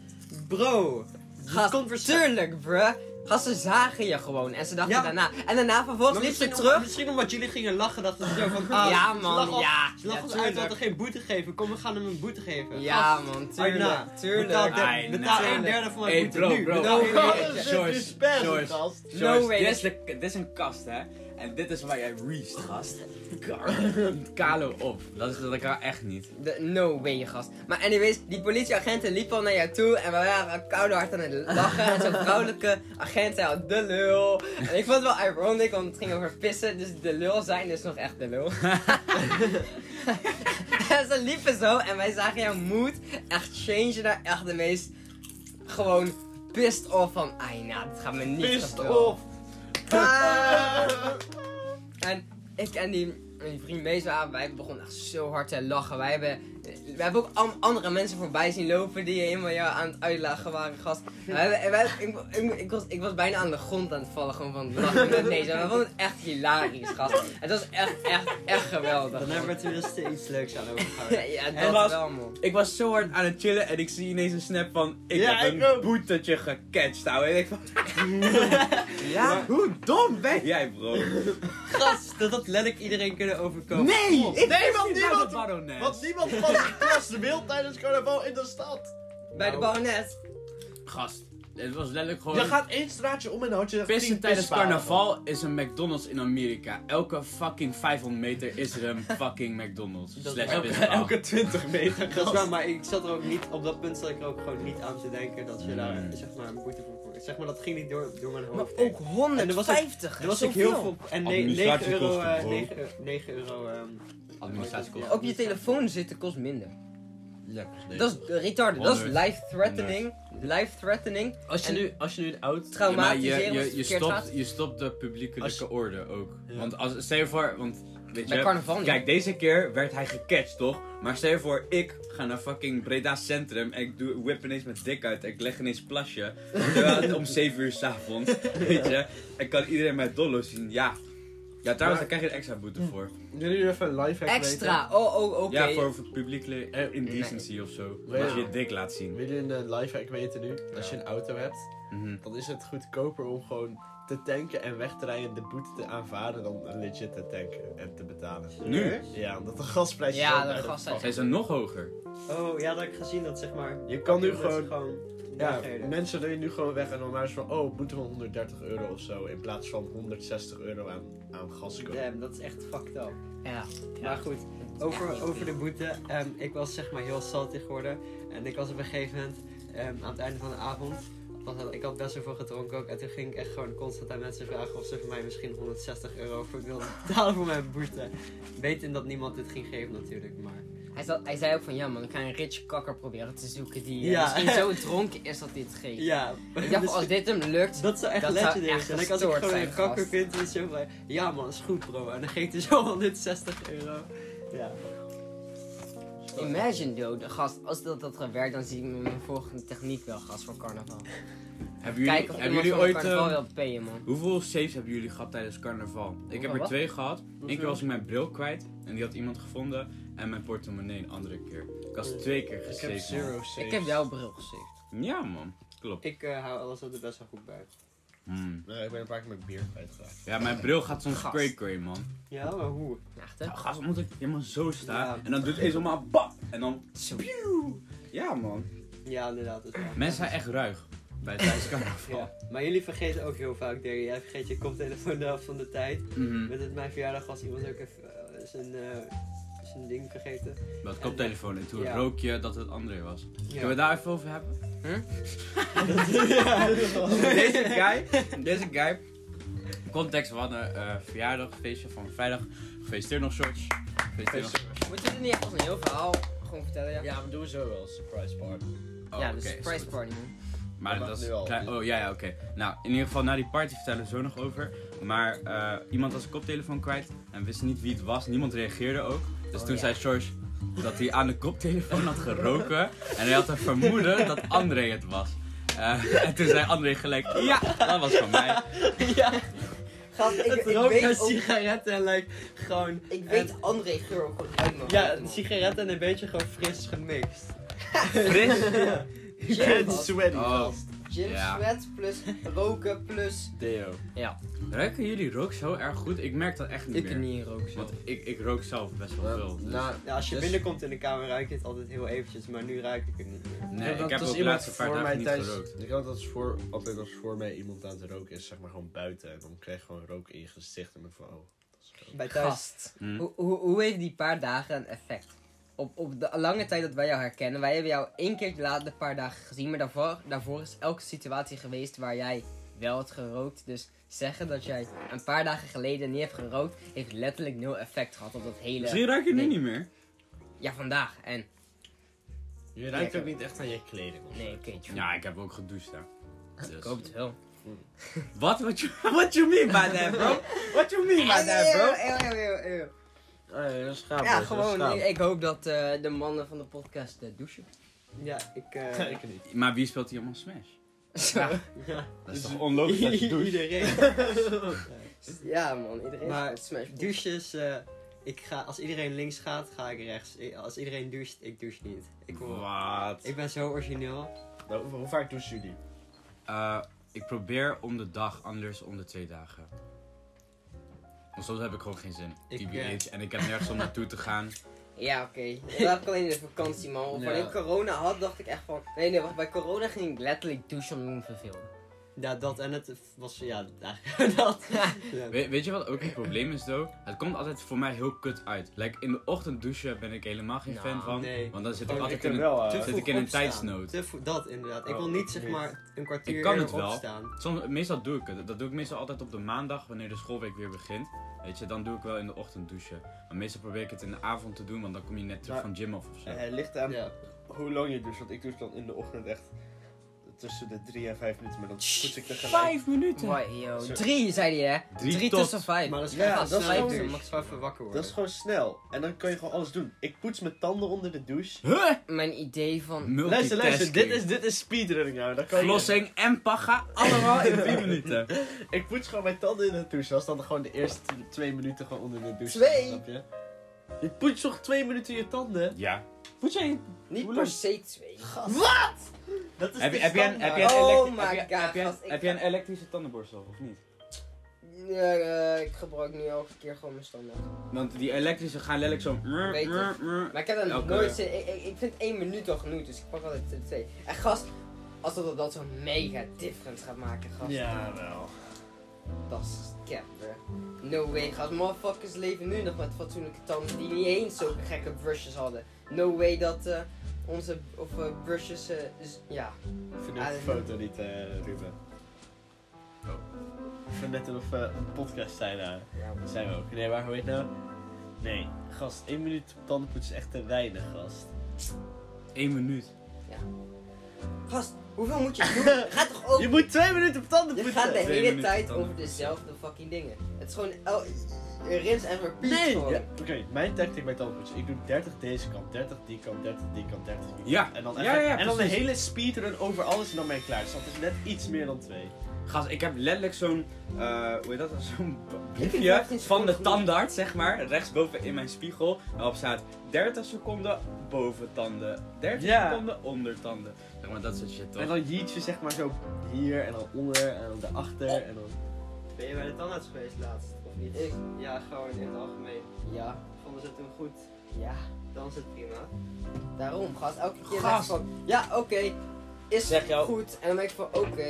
Speaker 4: Bro!
Speaker 2: Gast, tuurlijk, bruh. Gast, ze zagen je gewoon. En ze dachten
Speaker 4: Ja.
Speaker 2: daarna. En daarna
Speaker 4: Maar
Speaker 2: vervolgens liep ze
Speaker 4: misschien om-
Speaker 2: terug.
Speaker 4: misschien omdat jullie gingen lachen, dachten ze zo (laughs) van... Ah,
Speaker 2: Ja,
Speaker 4: ze
Speaker 2: man,
Speaker 4: lachen ons-
Speaker 2: ja.
Speaker 4: Ze lachen
Speaker 2: Ja,
Speaker 4: ons uit, we
Speaker 2: tuurlijk.
Speaker 4: hadden geen boete geven. Kom, we gaan hem een boete geven.
Speaker 2: Ja,
Speaker 4: Gast,
Speaker 2: man,
Speaker 4: Arna,
Speaker 2: tuurlijk.
Speaker 4: Betaal,
Speaker 2: Tuurlijk.
Speaker 4: de-
Speaker 3: Arna.
Speaker 4: betaal een derde van mijn
Speaker 3: Hey,
Speaker 4: boete
Speaker 3: bro,
Speaker 4: nu.
Speaker 3: bro.
Speaker 1: Oh,
Speaker 4: Betaal een
Speaker 3: Bro.
Speaker 4: derde. (laughs)
Speaker 1: Wat is
Speaker 3: George,
Speaker 1: dit dispense,
Speaker 3: George.
Speaker 1: gast?
Speaker 3: George,
Speaker 2: way
Speaker 3: dit,
Speaker 2: dat
Speaker 3: is de, dit is een kast, hè? En dit is waar jij reest, gast. (laughs) Kalo op. Dat, is, dat kan echt niet.
Speaker 2: De, no way, gast. Maar anyways, die politieagenten liepen al naar jou toe en we waren koude hard aan het lachen.
Speaker 1: (laughs)
Speaker 2: en zo'n vrouwelijke agent zei al, de lul. En ik vond het wel ironic, want het ging over pissen, dus de lul zijn is nog echt de
Speaker 1: (laughs)
Speaker 2: lul. en ze liepen zo en wij zagen jouw moed echt change naar echt de meest gewoon pissed off van, ai nou, dit gaat me niet
Speaker 1: Pissed
Speaker 2: gebeuren."
Speaker 1: off!
Speaker 2: Ah. En ik en die, en die vriend Mees waren, wij begonnen echt zo hard te lachen. Wij hebben, wij hebben ook am- andere mensen voorbij zien lopen die helemaal jou aan het uitlachen waren, gast. En wij hebben- en wij- ik, ik, ik was, ik was bijna aan de grond aan het vallen, gewoon van het lachen met Mees. En we vonden het echt hilarisch, gast. Het was echt, echt, echt geweldig.
Speaker 4: Dan hebben we tenminste iets leuks aan
Speaker 2: Ja,
Speaker 4: overgehouden.
Speaker 2: ja, dat
Speaker 3: En was-
Speaker 2: wel, man.
Speaker 3: Ik was zo hard aan het chillen en ik zie ineens een snap van... Ik
Speaker 1: Ja,
Speaker 3: heb
Speaker 1: ik
Speaker 3: een
Speaker 1: ook.
Speaker 3: boetetje gecatcht, ouwe. En ik van...
Speaker 2: Ja?
Speaker 3: Hoe dom ben jij, bro?
Speaker 4: Gast, dat had letterlijk iedereen kunnen overkomen.
Speaker 3: Nee! Ik
Speaker 1: Nee, want
Speaker 3: zit bij de
Speaker 1: niemand,
Speaker 3: barones.
Speaker 1: want niemand van de klas wil tijdens carnaval in de stad.
Speaker 2: Bij
Speaker 4: Nou.
Speaker 2: de baronet.
Speaker 3: Gast, het was letterlijk gewoon...
Speaker 1: Je gaat één straatje om en dan had je echt
Speaker 3: Pissen
Speaker 1: tien
Speaker 3: tijdens
Speaker 1: pispalen.
Speaker 3: carnaval is een McDonald's in Amerika. Elke fucking 500 meter is er een fucking McDonald's.
Speaker 4: Dat-
Speaker 3: Slechts
Speaker 4: elke-
Speaker 3: pispaal.
Speaker 1: (laughs) Elke 20 meter,
Speaker 4: Dat is
Speaker 1: gast.
Speaker 4: waar, maar ik zat er ook niet, op dat punt zat ik er ook gewoon niet aan te denken dat je daar
Speaker 3: Nee.
Speaker 4: zeg maar een boete voor kreeg. Zeg maar, dat ging niet door, door mijn hoofd.
Speaker 2: Maar ook
Speaker 4: En er was ook-
Speaker 2: 150.
Speaker 4: Er was ook heel veel. En ne- 9 euro.
Speaker 3: Administratiekosten,
Speaker 4: eh,
Speaker 3: bro.
Speaker 4: 9 euro- 9 euro. ehm,
Speaker 3: Administratiekosten.
Speaker 2: Op je telefoon zitten kost minder.
Speaker 1: Ja,
Speaker 2: Dat is eh, retarded, dat is
Speaker 3: Honderd.
Speaker 2: life threatening. Life threatening.
Speaker 1: Als je,
Speaker 2: En-
Speaker 1: nu, als je nu een oud...
Speaker 3: Ja, maar
Speaker 2: Traumatisch
Speaker 3: je,
Speaker 2: helemaal
Speaker 3: je, je,
Speaker 2: verkeerd
Speaker 3: stopt,
Speaker 2: gaat.
Speaker 3: je stopt de publiekelijke
Speaker 1: Als-
Speaker 3: orde ook.
Speaker 1: Ja.
Speaker 3: Want als, stel je voor, want weet
Speaker 2: Bij
Speaker 3: je,
Speaker 2: carnaval niet.
Speaker 3: kijk deze keer werd hij gecatcht toch? Maar stel je voor, ik ga naar fucking Breda Centrum en ik doe, whip ineens mijn dik uit en ik leg ineens plasje. terwijl het om 7 uur s'avonds,
Speaker 1: (laughs)
Speaker 3: weet je. En kan iedereen mij dollo zien, ja. Ja, trouwens, daar krijg je een extra boete voor.
Speaker 1: Willen jullie even een live
Speaker 2: Extra, oh oh oké.
Speaker 3: Ja, voor, voor publieke indecency of zo.
Speaker 1: Nee.
Speaker 3: Als je je dik laat zien.
Speaker 1: Wil jullie een eh, lifehack weten nu? Als je een auto hebt,
Speaker 3: Mhm.
Speaker 1: dan is het goedkoper om gewoon te tanken en weg te rijden en de boete te aanvaarden dan legit te tanken en te betalen.
Speaker 3: Nu?
Speaker 1: Ja, omdat de gasprijs
Speaker 2: Ja, de
Speaker 1: gas
Speaker 2: gasprijs-
Speaker 3: Zij zijn nog hoger.
Speaker 4: Oh ja, dat heb ik gezien dat zeg maar.
Speaker 1: Je kan nu
Speaker 4: dat ze
Speaker 1: gewoon... Ja,
Speaker 4: wegrijden.
Speaker 1: mensen doen nu gewoon weg en dan maar eens van, oh, boete van 130 euro of zo. In plaats van 160 euro aan, aan gaskosten.
Speaker 4: Damn, dat is echt fucked up.
Speaker 2: Ja.
Speaker 4: Maar goed, over, over de boete. ehm, ik was zeg maar heel salty geworden. En ik was op een gegeven moment ehm, aan het einde van de avond. althans, Ik had best wel veel gedronken ook. En toen ging ik echt gewoon constant aan mensen vragen of ze voor mij misschien 160 euro voor wilden (laughs) betalen voor mijn boete. Weten dat niemand dit ging geven natuurlijk, maar.
Speaker 2: Hij, zat- hij zei ook van, ja man, ik ga een rich kakker proberen te zoeken die eh,
Speaker 4: Ja.
Speaker 2: misschien zo dronken is dat hij het geeft.
Speaker 4: Ja, Dus
Speaker 2: Ik dacht,
Speaker 4: (laughs)
Speaker 2: als dit hem lukt,
Speaker 4: Dat zou echt
Speaker 2: Dat zou
Speaker 4: legendary
Speaker 2: echt
Speaker 4: zijn. Like, als ik
Speaker 2: gestoord
Speaker 4: gewoon
Speaker 2: zijn,
Speaker 4: een kakker
Speaker 2: gast.
Speaker 4: vind, dan is het zo van... dus (laughs) Ja man, is goed bro. En dan geeft hij zo 160 euro. Ja.
Speaker 2: Imagine, dude, gast, als dat had gewerkt, dan zie ik met mijn volgende techniek wel, gast, voor carnaval.
Speaker 3: Hebben jullie,
Speaker 2: Kijk of
Speaker 3: hebben
Speaker 2: iemand
Speaker 3: jullie
Speaker 2: voor
Speaker 3: ooit...
Speaker 2: carnaval
Speaker 3: ehm,
Speaker 2: wil payen, man.
Speaker 3: Hoeveel saves hebben jullie gehad tijdens carnaval? Ik heb
Speaker 2: Hoeveel
Speaker 3: er
Speaker 2: wat?
Speaker 3: twee gehad. Eén keer was ik mijn bril kwijt en die had iemand gevonden. En mijn portemonnee een andere keer. Ik was twee keer
Speaker 1: Ik heb
Speaker 3: gesaved. man.
Speaker 1: zero saves.
Speaker 2: Ik heb jouw bril gesaved.
Speaker 3: Ja man, klopt.
Speaker 4: Ik eh, hou alles altijd best wel goed bij.
Speaker 3: Hmm.
Speaker 1: Nee, ik ben een paar keer mijn bier kwijtgeraakt.
Speaker 3: Ja, mijn bril gaat soms
Speaker 2: Gast.
Speaker 3: cray cray man.
Speaker 4: Ja, maar hoe?
Speaker 2: Echt, hè?
Speaker 3: Ja, gast, omdat ik helemaal zo sta.
Speaker 4: Ja.
Speaker 3: En dan doet het eens allemaal bap. En dan...
Speaker 2: Zo.
Speaker 3: Ja man.
Speaker 4: Ja, inderdaad. Dat is waar.
Speaker 3: Mensen zijn echt ruig. Bij tijdens carnaval.
Speaker 4: Ja. Maar jullie vergeten ook heel vaak dingen. Jij vergeet je koptelefoon de helft van de tijd.
Speaker 3: Mhm.
Speaker 4: Met het mijn verjaardag was iemand ook even eh, zijn, eh, zijn ding vergeten.
Speaker 3: Wat koptelefoon en toen
Speaker 4: Ja.
Speaker 3: rook je dat het André was. Kunnen we
Speaker 4: Ja.
Speaker 3: daar even over hebben?
Speaker 4: ja.
Speaker 3: (laughs) deze guy, deze guy. Context, we hadden eh verjaardagfeestje van vrijdag. Gefeliciteerd nog, George. Gefeliciteerd nog.
Speaker 2: Moet je dit niet echt als een heel verhaal gewoon vertellen, ja?
Speaker 1: Ja, we doen zo wel. Surprise party.
Speaker 3: Oh,
Speaker 2: ja, dus de
Speaker 3: oké, is
Speaker 2: surprise
Speaker 3: goed.
Speaker 2: party, man.
Speaker 3: Maar
Speaker 1: Dat
Speaker 3: dat is
Speaker 1: mag nu al.
Speaker 3: klein- Oh ja, ja oké. Nou, in ieder geval, na die party vertellen we zo nog over. Maar eh, iemand was zijn koptelefoon kwijt en wist niet wie het was. Niemand reageerde ook. Dus
Speaker 2: Oh,
Speaker 3: toen
Speaker 2: ja.
Speaker 3: zei George dat hij aan de koptelefoon had geroken. En hij had een vermoeden dat André het was. Eh, en toen zei André gelijk, ja, dat was van
Speaker 1: (laughs)
Speaker 3: mij.
Speaker 2: Gast, ik,
Speaker 4: Het rook naar sigaretten en like, gewoon...
Speaker 2: ik
Speaker 4: weet
Speaker 2: André geur ook gewoon uit mijn
Speaker 4: Ja, een sigaret en een beetje gewoon fris gemixt.
Speaker 3: Fris.
Speaker 1: Ik ben sweaty.
Speaker 3: Oh,
Speaker 2: Gym
Speaker 3: Ja.
Speaker 2: sweat plus roken plus...
Speaker 1: Deo.
Speaker 2: Ja,
Speaker 3: Ruiken jullie rook zo erg goed? Ik merk dat echt niet
Speaker 2: ik
Speaker 3: meer.
Speaker 2: kan niet roken zo.
Speaker 3: Want ik, ik rook zelf best wel veel. dus-
Speaker 1: Nou,
Speaker 4: Ja, als je
Speaker 1: Dus-
Speaker 4: binnenkomt in de kamer ruik je het altijd heel eventjes, maar nu ruik ik het niet meer.
Speaker 3: nee, ik
Speaker 1: dat
Speaker 3: heb
Speaker 1: was
Speaker 3: ook de
Speaker 1: iemand
Speaker 3: laatste paar
Speaker 1: voor mij
Speaker 3: dagen niet
Speaker 1: thuis-
Speaker 3: gerookt.
Speaker 1: Ik had dat als voor, altijd als voor mij iemand aan het roken is, zeg maar gewoon buiten. En dan krijg je gewoon rook in je gezicht. En dan van, oh, dat is rook.
Speaker 4: Bij thuis.
Speaker 2: Gast.
Speaker 3: Hm.
Speaker 2: Hoe, hoe, hoe heeft die paar dagen een effect? Op, op de lange tijd dat wij jou herkennen, wij hebben jou één keer de laatste paar dagen gezien, maar daarvoor, daarvoor is elke situatie geweest waar jij wel hebt gerookt. Dus zeggen dat jij een paar dagen geleden niet hebt gerookt, heeft letterlijk nul effect gehad op dat hele.
Speaker 3: Misschien ruik je nu
Speaker 2: Nee.
Speaker 3: niet meer.
Speaker 2: Ja, vandaag. En
Speaker 1: Je ruikt
Speaker 2: Ja,
Speaker 1: ook niet echt aan je kleding. of zo.
Speaker 2: nee, oké, tjoe.
Speaker 3: Ja, ik heb ook gedoucht daar. Dus.
Speaker 2: ik hoop het wel.
Speaker 3: (laughs) Wat? What you, what you mean by that, bro? What you mean by that, bro?
Speaker 2: Eeuw, eeuw, eeuw, eeuw, eeuw.
Speaker 1: Oh, ja, dat is gaaf,
Speaker 2: Ja,
Speaker 1: dat is
Speaker 2: gewoon.
Speaker 1: gaaf.
Speaker 2: Ik, ik hoop dat eh, de mannen van de podcast eh, douchen.
Speaker 4: Ja, ik...
Speaker 1: (laughs)
Speaker 4: eh, (laughs)
Speaker 1: Ik niet.
Speaker 3: Maar wie speelt hier allemaal Smash?
Speaker 2: Zo.
Speaker 4: ja.
Speaker 3: Dat is toch onlogisch dat (laughs)
Speaker 4: (laughs)
Speaker 3: je doucht?
Speaker 4: Iedereen.
Speaker 2: Ja, man, iedereen
Speaker 4: Maar
Speaker 2: smash.
Speaker 4: douches, eh, ik ga, als iedereen links gaat, ga ik rechts. I- Als iedereen doucht, ik douche niet. Ik, wil-
Speaker 3: Wat?
Speaker 4: ik ben zo origineel.
Speaker 1: Nou, hoe, hoe vaak douchen jullie?
Speaker 3: Eh, ik probeer om de dag, anders om de twee dagen. Want soms heb ik gewoon geen zin.
Speaker 4: Ik,
Speaker 3: TBH.
Speaker 4: eh,
Speaker 3: En ik heb nergens om naartoe te (laughs) gaan.
Speaker 2: Ja, oké. Dat kan in de vakantie, man. Of
Speaker 1: Ja.
Speaker 2: wanneer ik corona had, dacht ik echt van... Nee, nee, wacht. Bij corona ging ik letterlijk douchen om me verveelde.
Speaker 4: Ja, dat en het was, ja, eigenlijk (laughs) dat. Ja.
Speaker 3: We- weet je wat ook een probleem is, though? Het komt altijd voor mij heel kut uit. Like, in de ochtend douchen ben ik helemaal geen
Speaker 2: Nou,
Speaker 3: fan van.
Speaker 4: nee.
Speaker 3: Want dan zit ik
Speaker 1: Oh,
Speaker 3: altijd
Speaker 1: heb
Speaker 3: in een...
Speaker 1: wel, eh,
Speaker 4: Te
Speaker 3: zit
Speaker 4: vroeg
Speaker 3: ik in een
Speaker 4: opstaan.
Speaker 3: tijdsnood.
Speaker 4: Te vroeg- dat inderdaad. Ik
Speaker 1: Oh,
Speaker 4: wil niet zeg
Speaker 1: niet.
Speaker 4: maar een kwartier
Speaker 3: Ik kan
Speaker 4: eerder
Speaker 3: het wel.
Speaker 4: opstaan.
Speaker 3: Soms, meestal doe ik het. Dat doe ik meestal altijd op de maandag, wanneer de schoolweek weer begint. Weet je, dan doe ik wel in de ochtend douchen. Maar meestal probeer ik het in de avond te doen, want dan kom je net terug
Speaker 1: Maar-
Speaker 3: van gym af of zo.
Speaker 1: Eh, het ligt aan
Speaker 4: Ja.
Speaker 1: hoe lang je doucht. Want ik douche dan in de ochtend echt tussen de 3 en 5 minuten. Maar dan poets ik tegelijk.
Speaker 3: Vijf minuten!
Speaker 2: Mooi, yo.
Speaker 1: Zo.
Speaker 2: Drie, zei hij, hè?
Speaker 3: Drie tot-
Speaker 2: tussen vijf.
Speaker 4: Maar dat is
Speaker 1: Ja,
Speaker 4: ja,
Speaker 1: dat is
Speaker 4: snel
Speaker 1: wel-
Speaker 4: douchen. Mag ik zo even wakker worden?
Speaker 1: Dat is gewoon snel. En dan kan je gewoon alles doen. Ik poets mijn tanden onder de douche.
Speaker 3: Huh?
Speaker 2: Mijn idee van...
Speaker 1: Luister,
Speaker 3: Multitasking.
Speaker 1: luister. Dit is, dit is speedrunning nou. Dan kan je-
Speaker 3: Flossing en paga, allemaal in drie minuten.
Speaker 1: (laughs) Ik poets gewoon mijn tanden in de douche. Dat is dan gewoon de eerste t- twee minuten gewoon onder de douche.
Speaker 2: Twee?
Speaker 1: Snap je? Je poets toch twee minuten je tanden?
Speaker 3: Ja.
Speaker 1: Poets jij
Speaker 2: Niet
Speaker 1: Hoe
Speaker 2: per
Speaker 1: lang?
Speaker 2: se twee.
Speaker 1: Dat is
Speaker 3: Heb je,
Speaker 1: de
Speaker 3: heb jij een, heb jij een,
Speaker 1: standaard.
Speaker 2: Oh
Speaker 3: elektri- heb
Speaker 2: my
Speaker 3: jij-
Speaker 2: God,
Speaker 3: heb jij-
Speaker 2: gast, ik
Speaker 3: heb jij
Speaker 2: ga-
Speaker 3: een elektrische tandenborstel, of niet?
Speaker 2: Eh, eh, ik gebruik nu elke keer gewoon mijn standaard.
Speaker 3: Want die elektrische gaan letterlijk zo...
Speaker 2: Beter. Maar ik heb dat
Speaker 3: Elke-
Speaker 2: nooit... zin- Ik, ik, ik vind één minuut al genoeg, dus ik pak altijd de twee. En gast, als dat, dat zo'n mega difference gaat maken, gast.
Speaker 1: Ja, wel.
Speaker 2: Dat is cap, bro. No way, gast. Motherfuckers leven nu nog met fatsoenlijke tanden die niet eens zulke gekke brushes hadden. No way dat eh, onze of, eh, brushes. eh, z- ja.
Speaker 1: Ik vind net de foto niet, eh, Ruben.
Speaker 3: Ah, Oh.
Speaker 1: Ik vind net of we een podcast zijn nou. Dat zijn we ook. Nee, maar weet nou? Nee, gast, één minuut op tandenpoetsen is echt te weinig, gast.
Speaker 3: Eén minuut.
Speaker 2: Gast, hoeveel moet je
Speaker 1: (laughs)
Speaker 2: doen? Ga toch ook.
Speaker 1: Je moet twee minuten op
Speaker 2: Je
Speaker 1: tandenpoetsen!
Speaker 2: gaat de
Speaker 3: twee
Speaker 2: hele
Speaker 3: minuten
Speaker 2: tijd
Speaker 3: tanden
Speaker 2: over dezelfde fucking dingen. Het is gewoon. el- Rins en repeat
Speaker 1: Nee!
Speaker 2: gewoon.
Speaker 1: Ja, Oké, mijn tactic bij tandpoetsen. Ik doe 30 deze kant, 30 die kant, 30 die kant, 30 die kant.
Speaker 3: Ja.
Speaker 1: En dan,
Speaker 3: Ja,
Speaker 1: even,
Speaker 3: ja,
Speaker 1: en dan een
Speaker 3: precies.
Speaker 1: hele speedrun over alles en dan ben ik klaar. Dus dat is net iets meer dan twee.
Speaker 3: Gast, ik heb letterlijk zo'n, eh, hoe heet dat, (laughs) zo'n b-
Speaker 2: Ik heb
Speaker 3: briefje
Speaker 2: het
Speaker 3: van de
Speaker 2: goed.
Speaker 3: tandarts, zeg maar, rechtsboven in mijn spiegel. Waarop staat 30 seconden boven tanden, 30
Speaker 1: Ja.
Speaker 3: seconden onder tanden. Zeg maar, dat soort shit toch?
Speaker 1: En dan jeet je zeg maar zo hier en dan onder en dan daarachter en dan...
Speaker 4: Ben je bij de tandarts geweest laatst? Of niet?
Speaker 2: Ik?
Speaker 4: Ja, gewoon in het algemeen.
Speaker 2: Ja,
Speaker 4: Vonden ze het toen goed?
Speaker 2: ja.
Speaker 4: Dan is het prima.
Speaker 2: Daarom, gast. Elke keer
Speaker 3: Gast.
Speaker 2: zeg ik van, ja, oké. is
Speaker 3: Zeg jou-
Speaker 2: goed. En dan ben ik van, oké.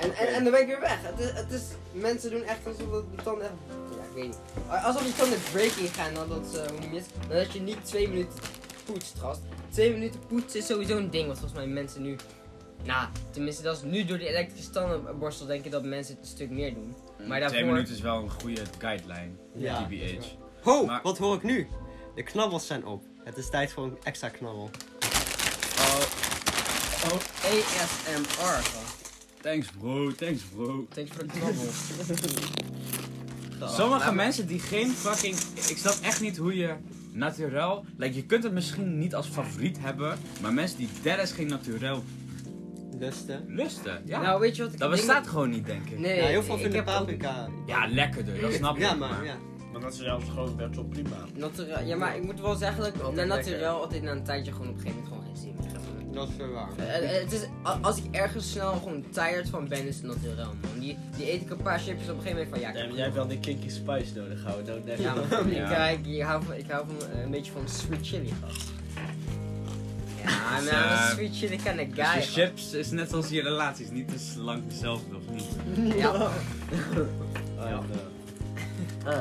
Speaker 2: En, en, en dan ben ik weer weg. Het is, het is, mensen doen echt alsof dat die tanden echt, ja, ik weet niet. Alsof die tanden breaking gaan nadat ze, eh, hoe noem je het? Nadat je niet twee minuten poetst, gast. Twee minuten poetsen is sowieso een ding, wat volgens mij mensen nu... Nou, tenminste, dat is nu door die elektrische tandenborstel denk ik dat mensen het een stuk meer doen. maar
Speaker 3: Twee
Speaker 2: daarvoor-
Speaker 3: minuten is wel een goede guideline,
Speaker 4: Ja.
Speaker 3: TBH.
Speaker 4: Ho,
Speaker 3: Maar-
Speaker 4: wat hoor ik nu? De knabbels zijn op. Het is tijd voor een extra knabbel.
Speaker 3: Oh,
Speaker 2: Oh, ASMR, gast.
Speaker 3: thanks bro, thanks bro.
Speaker 2: Denk voor
Speaker 3: (laughs)
Speaker 2: de knabbel.
Speaker 3: Sommige mensen die geen fucking. Ik snap echt niet hoe je. Naturel. Like, je kunt het misschien niet als favoriet hebben. Maar mensen die dead is geen naturel
Speaker 4: Lusten.
Speaker 3: lusten. Ja.
Speaker 2: Nou, weet je wat ik
Speaker 3: dat
Speaker 2: denk
Speaker 3: bestaat gewoon niet, denk ik.
Speaker 2: Nee,
Speaker 4: ja, heel veel
Speaker 2: ik
Speaker 4: vinden
Speaker 2: heb ook-
Speaker 4: paprika.
Speaker 3: Ja, lekkerder, dat snap ik. Dus
Speaker 4: Ja, maar ja.
Speaker 1: Maar dat is zelfs gewoon best wel prima.
Speaker 2: Naturel, ja, maar ik moet wel zeggen dat ik
Speaker 1: Altijd
Speaker 2: na
Speaker 1: lekker.
Speaker 2: naturel altijd na een tijdje gewoon op een gegeven moment gewoon geen zin meer heb.
Speaker 4: Dat is wel waar.
Speaker 2: Eh, eh, Het is, a- als ik ergens snel gewoon tired van ben, is het naturel, man. Die, die eet ik een paar chipjes op een gegeven moment van, ja, ik
Speaker 1: Nee,
Speaker 2: heb
Speaker 1: maar jij hebt
Speaker 2: genoeg.
Speaker 1: wel die kinky spice nodig houden. Nou, net (laughs)
Speaker 2: Ja, maar
Speaker 3: Ja.
Speaker 2: (laughs) ik, kijk, ik hou van, ik hou van eh, een beetje van sweet chili, gast. Ja,
Speaker 3: Dus,
Speaker 2: nou,
Speaker 3: eh,
Speaker 2: sweet chili kan ik
Speaker 3: Dus
Speaker 2: guy,
Speaker 3: je chips is net als je relaties, niet te lang dezelfde of niet.
Speaker 2: gast. Ja,
Speaker 1: Oh,
Speaker 3: Ja.
Speaker 1: (laughs) eh.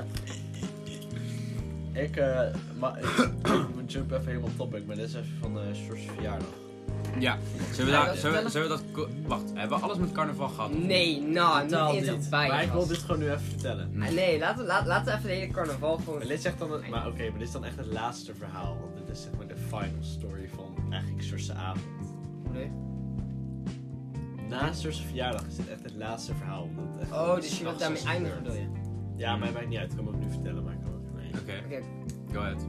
Speaker 1: Ik, eh, maar ik moet jump even helemaal topic, maar dit is even van eh Sjors verjaardag.
Speaker 3: Ja, zullen we,
Speaker 2: Ja,
Speaker 3: daar-
Speaker 2: dat-
Speaker 3: zullen we, zullen we dat. ko- Wacht, hebben we alles met carnaval gehad?
Speaker 2: nee, nou,
Speaker 1: Totaal
Speaker 2: niet eens erbij,
Speaker 1: Maar ik wil dus-
Speaker 2: gast.
Speaker 1: dit gewoon nu even vertellen.
Speaker 2: Ah, Nee, laten we laten- laten we even de hele carnaval
Speaker 1: Maar
Speaker 2: gewoon...
Speaker 1: dit is echt dan het, maar oké, maar dit is dan echt het laatste verhaal. Want dit is zeg maar de final story van eigenlijk Sjors' avond.
Speaker 2: Nee.
Speaker 1: Na Sjors' verjaardag is dit echt het laatste verhaal. omdat het echt
Speaker 2: Oh, dus je wilt
Speaker 1: s'nachts
Speaker 2: daarmee
Speaker 1: is gebeurd.
Speaker 2: eindigen, bedoel je?
Speaker 1: Ja, maar het maakt niet uit. Ik kan hem ook nu vertellen, maar ik kan ook niet.
Speaker 3: Oké,
Speaker 2: Oké.
Speaker 3: go ahead.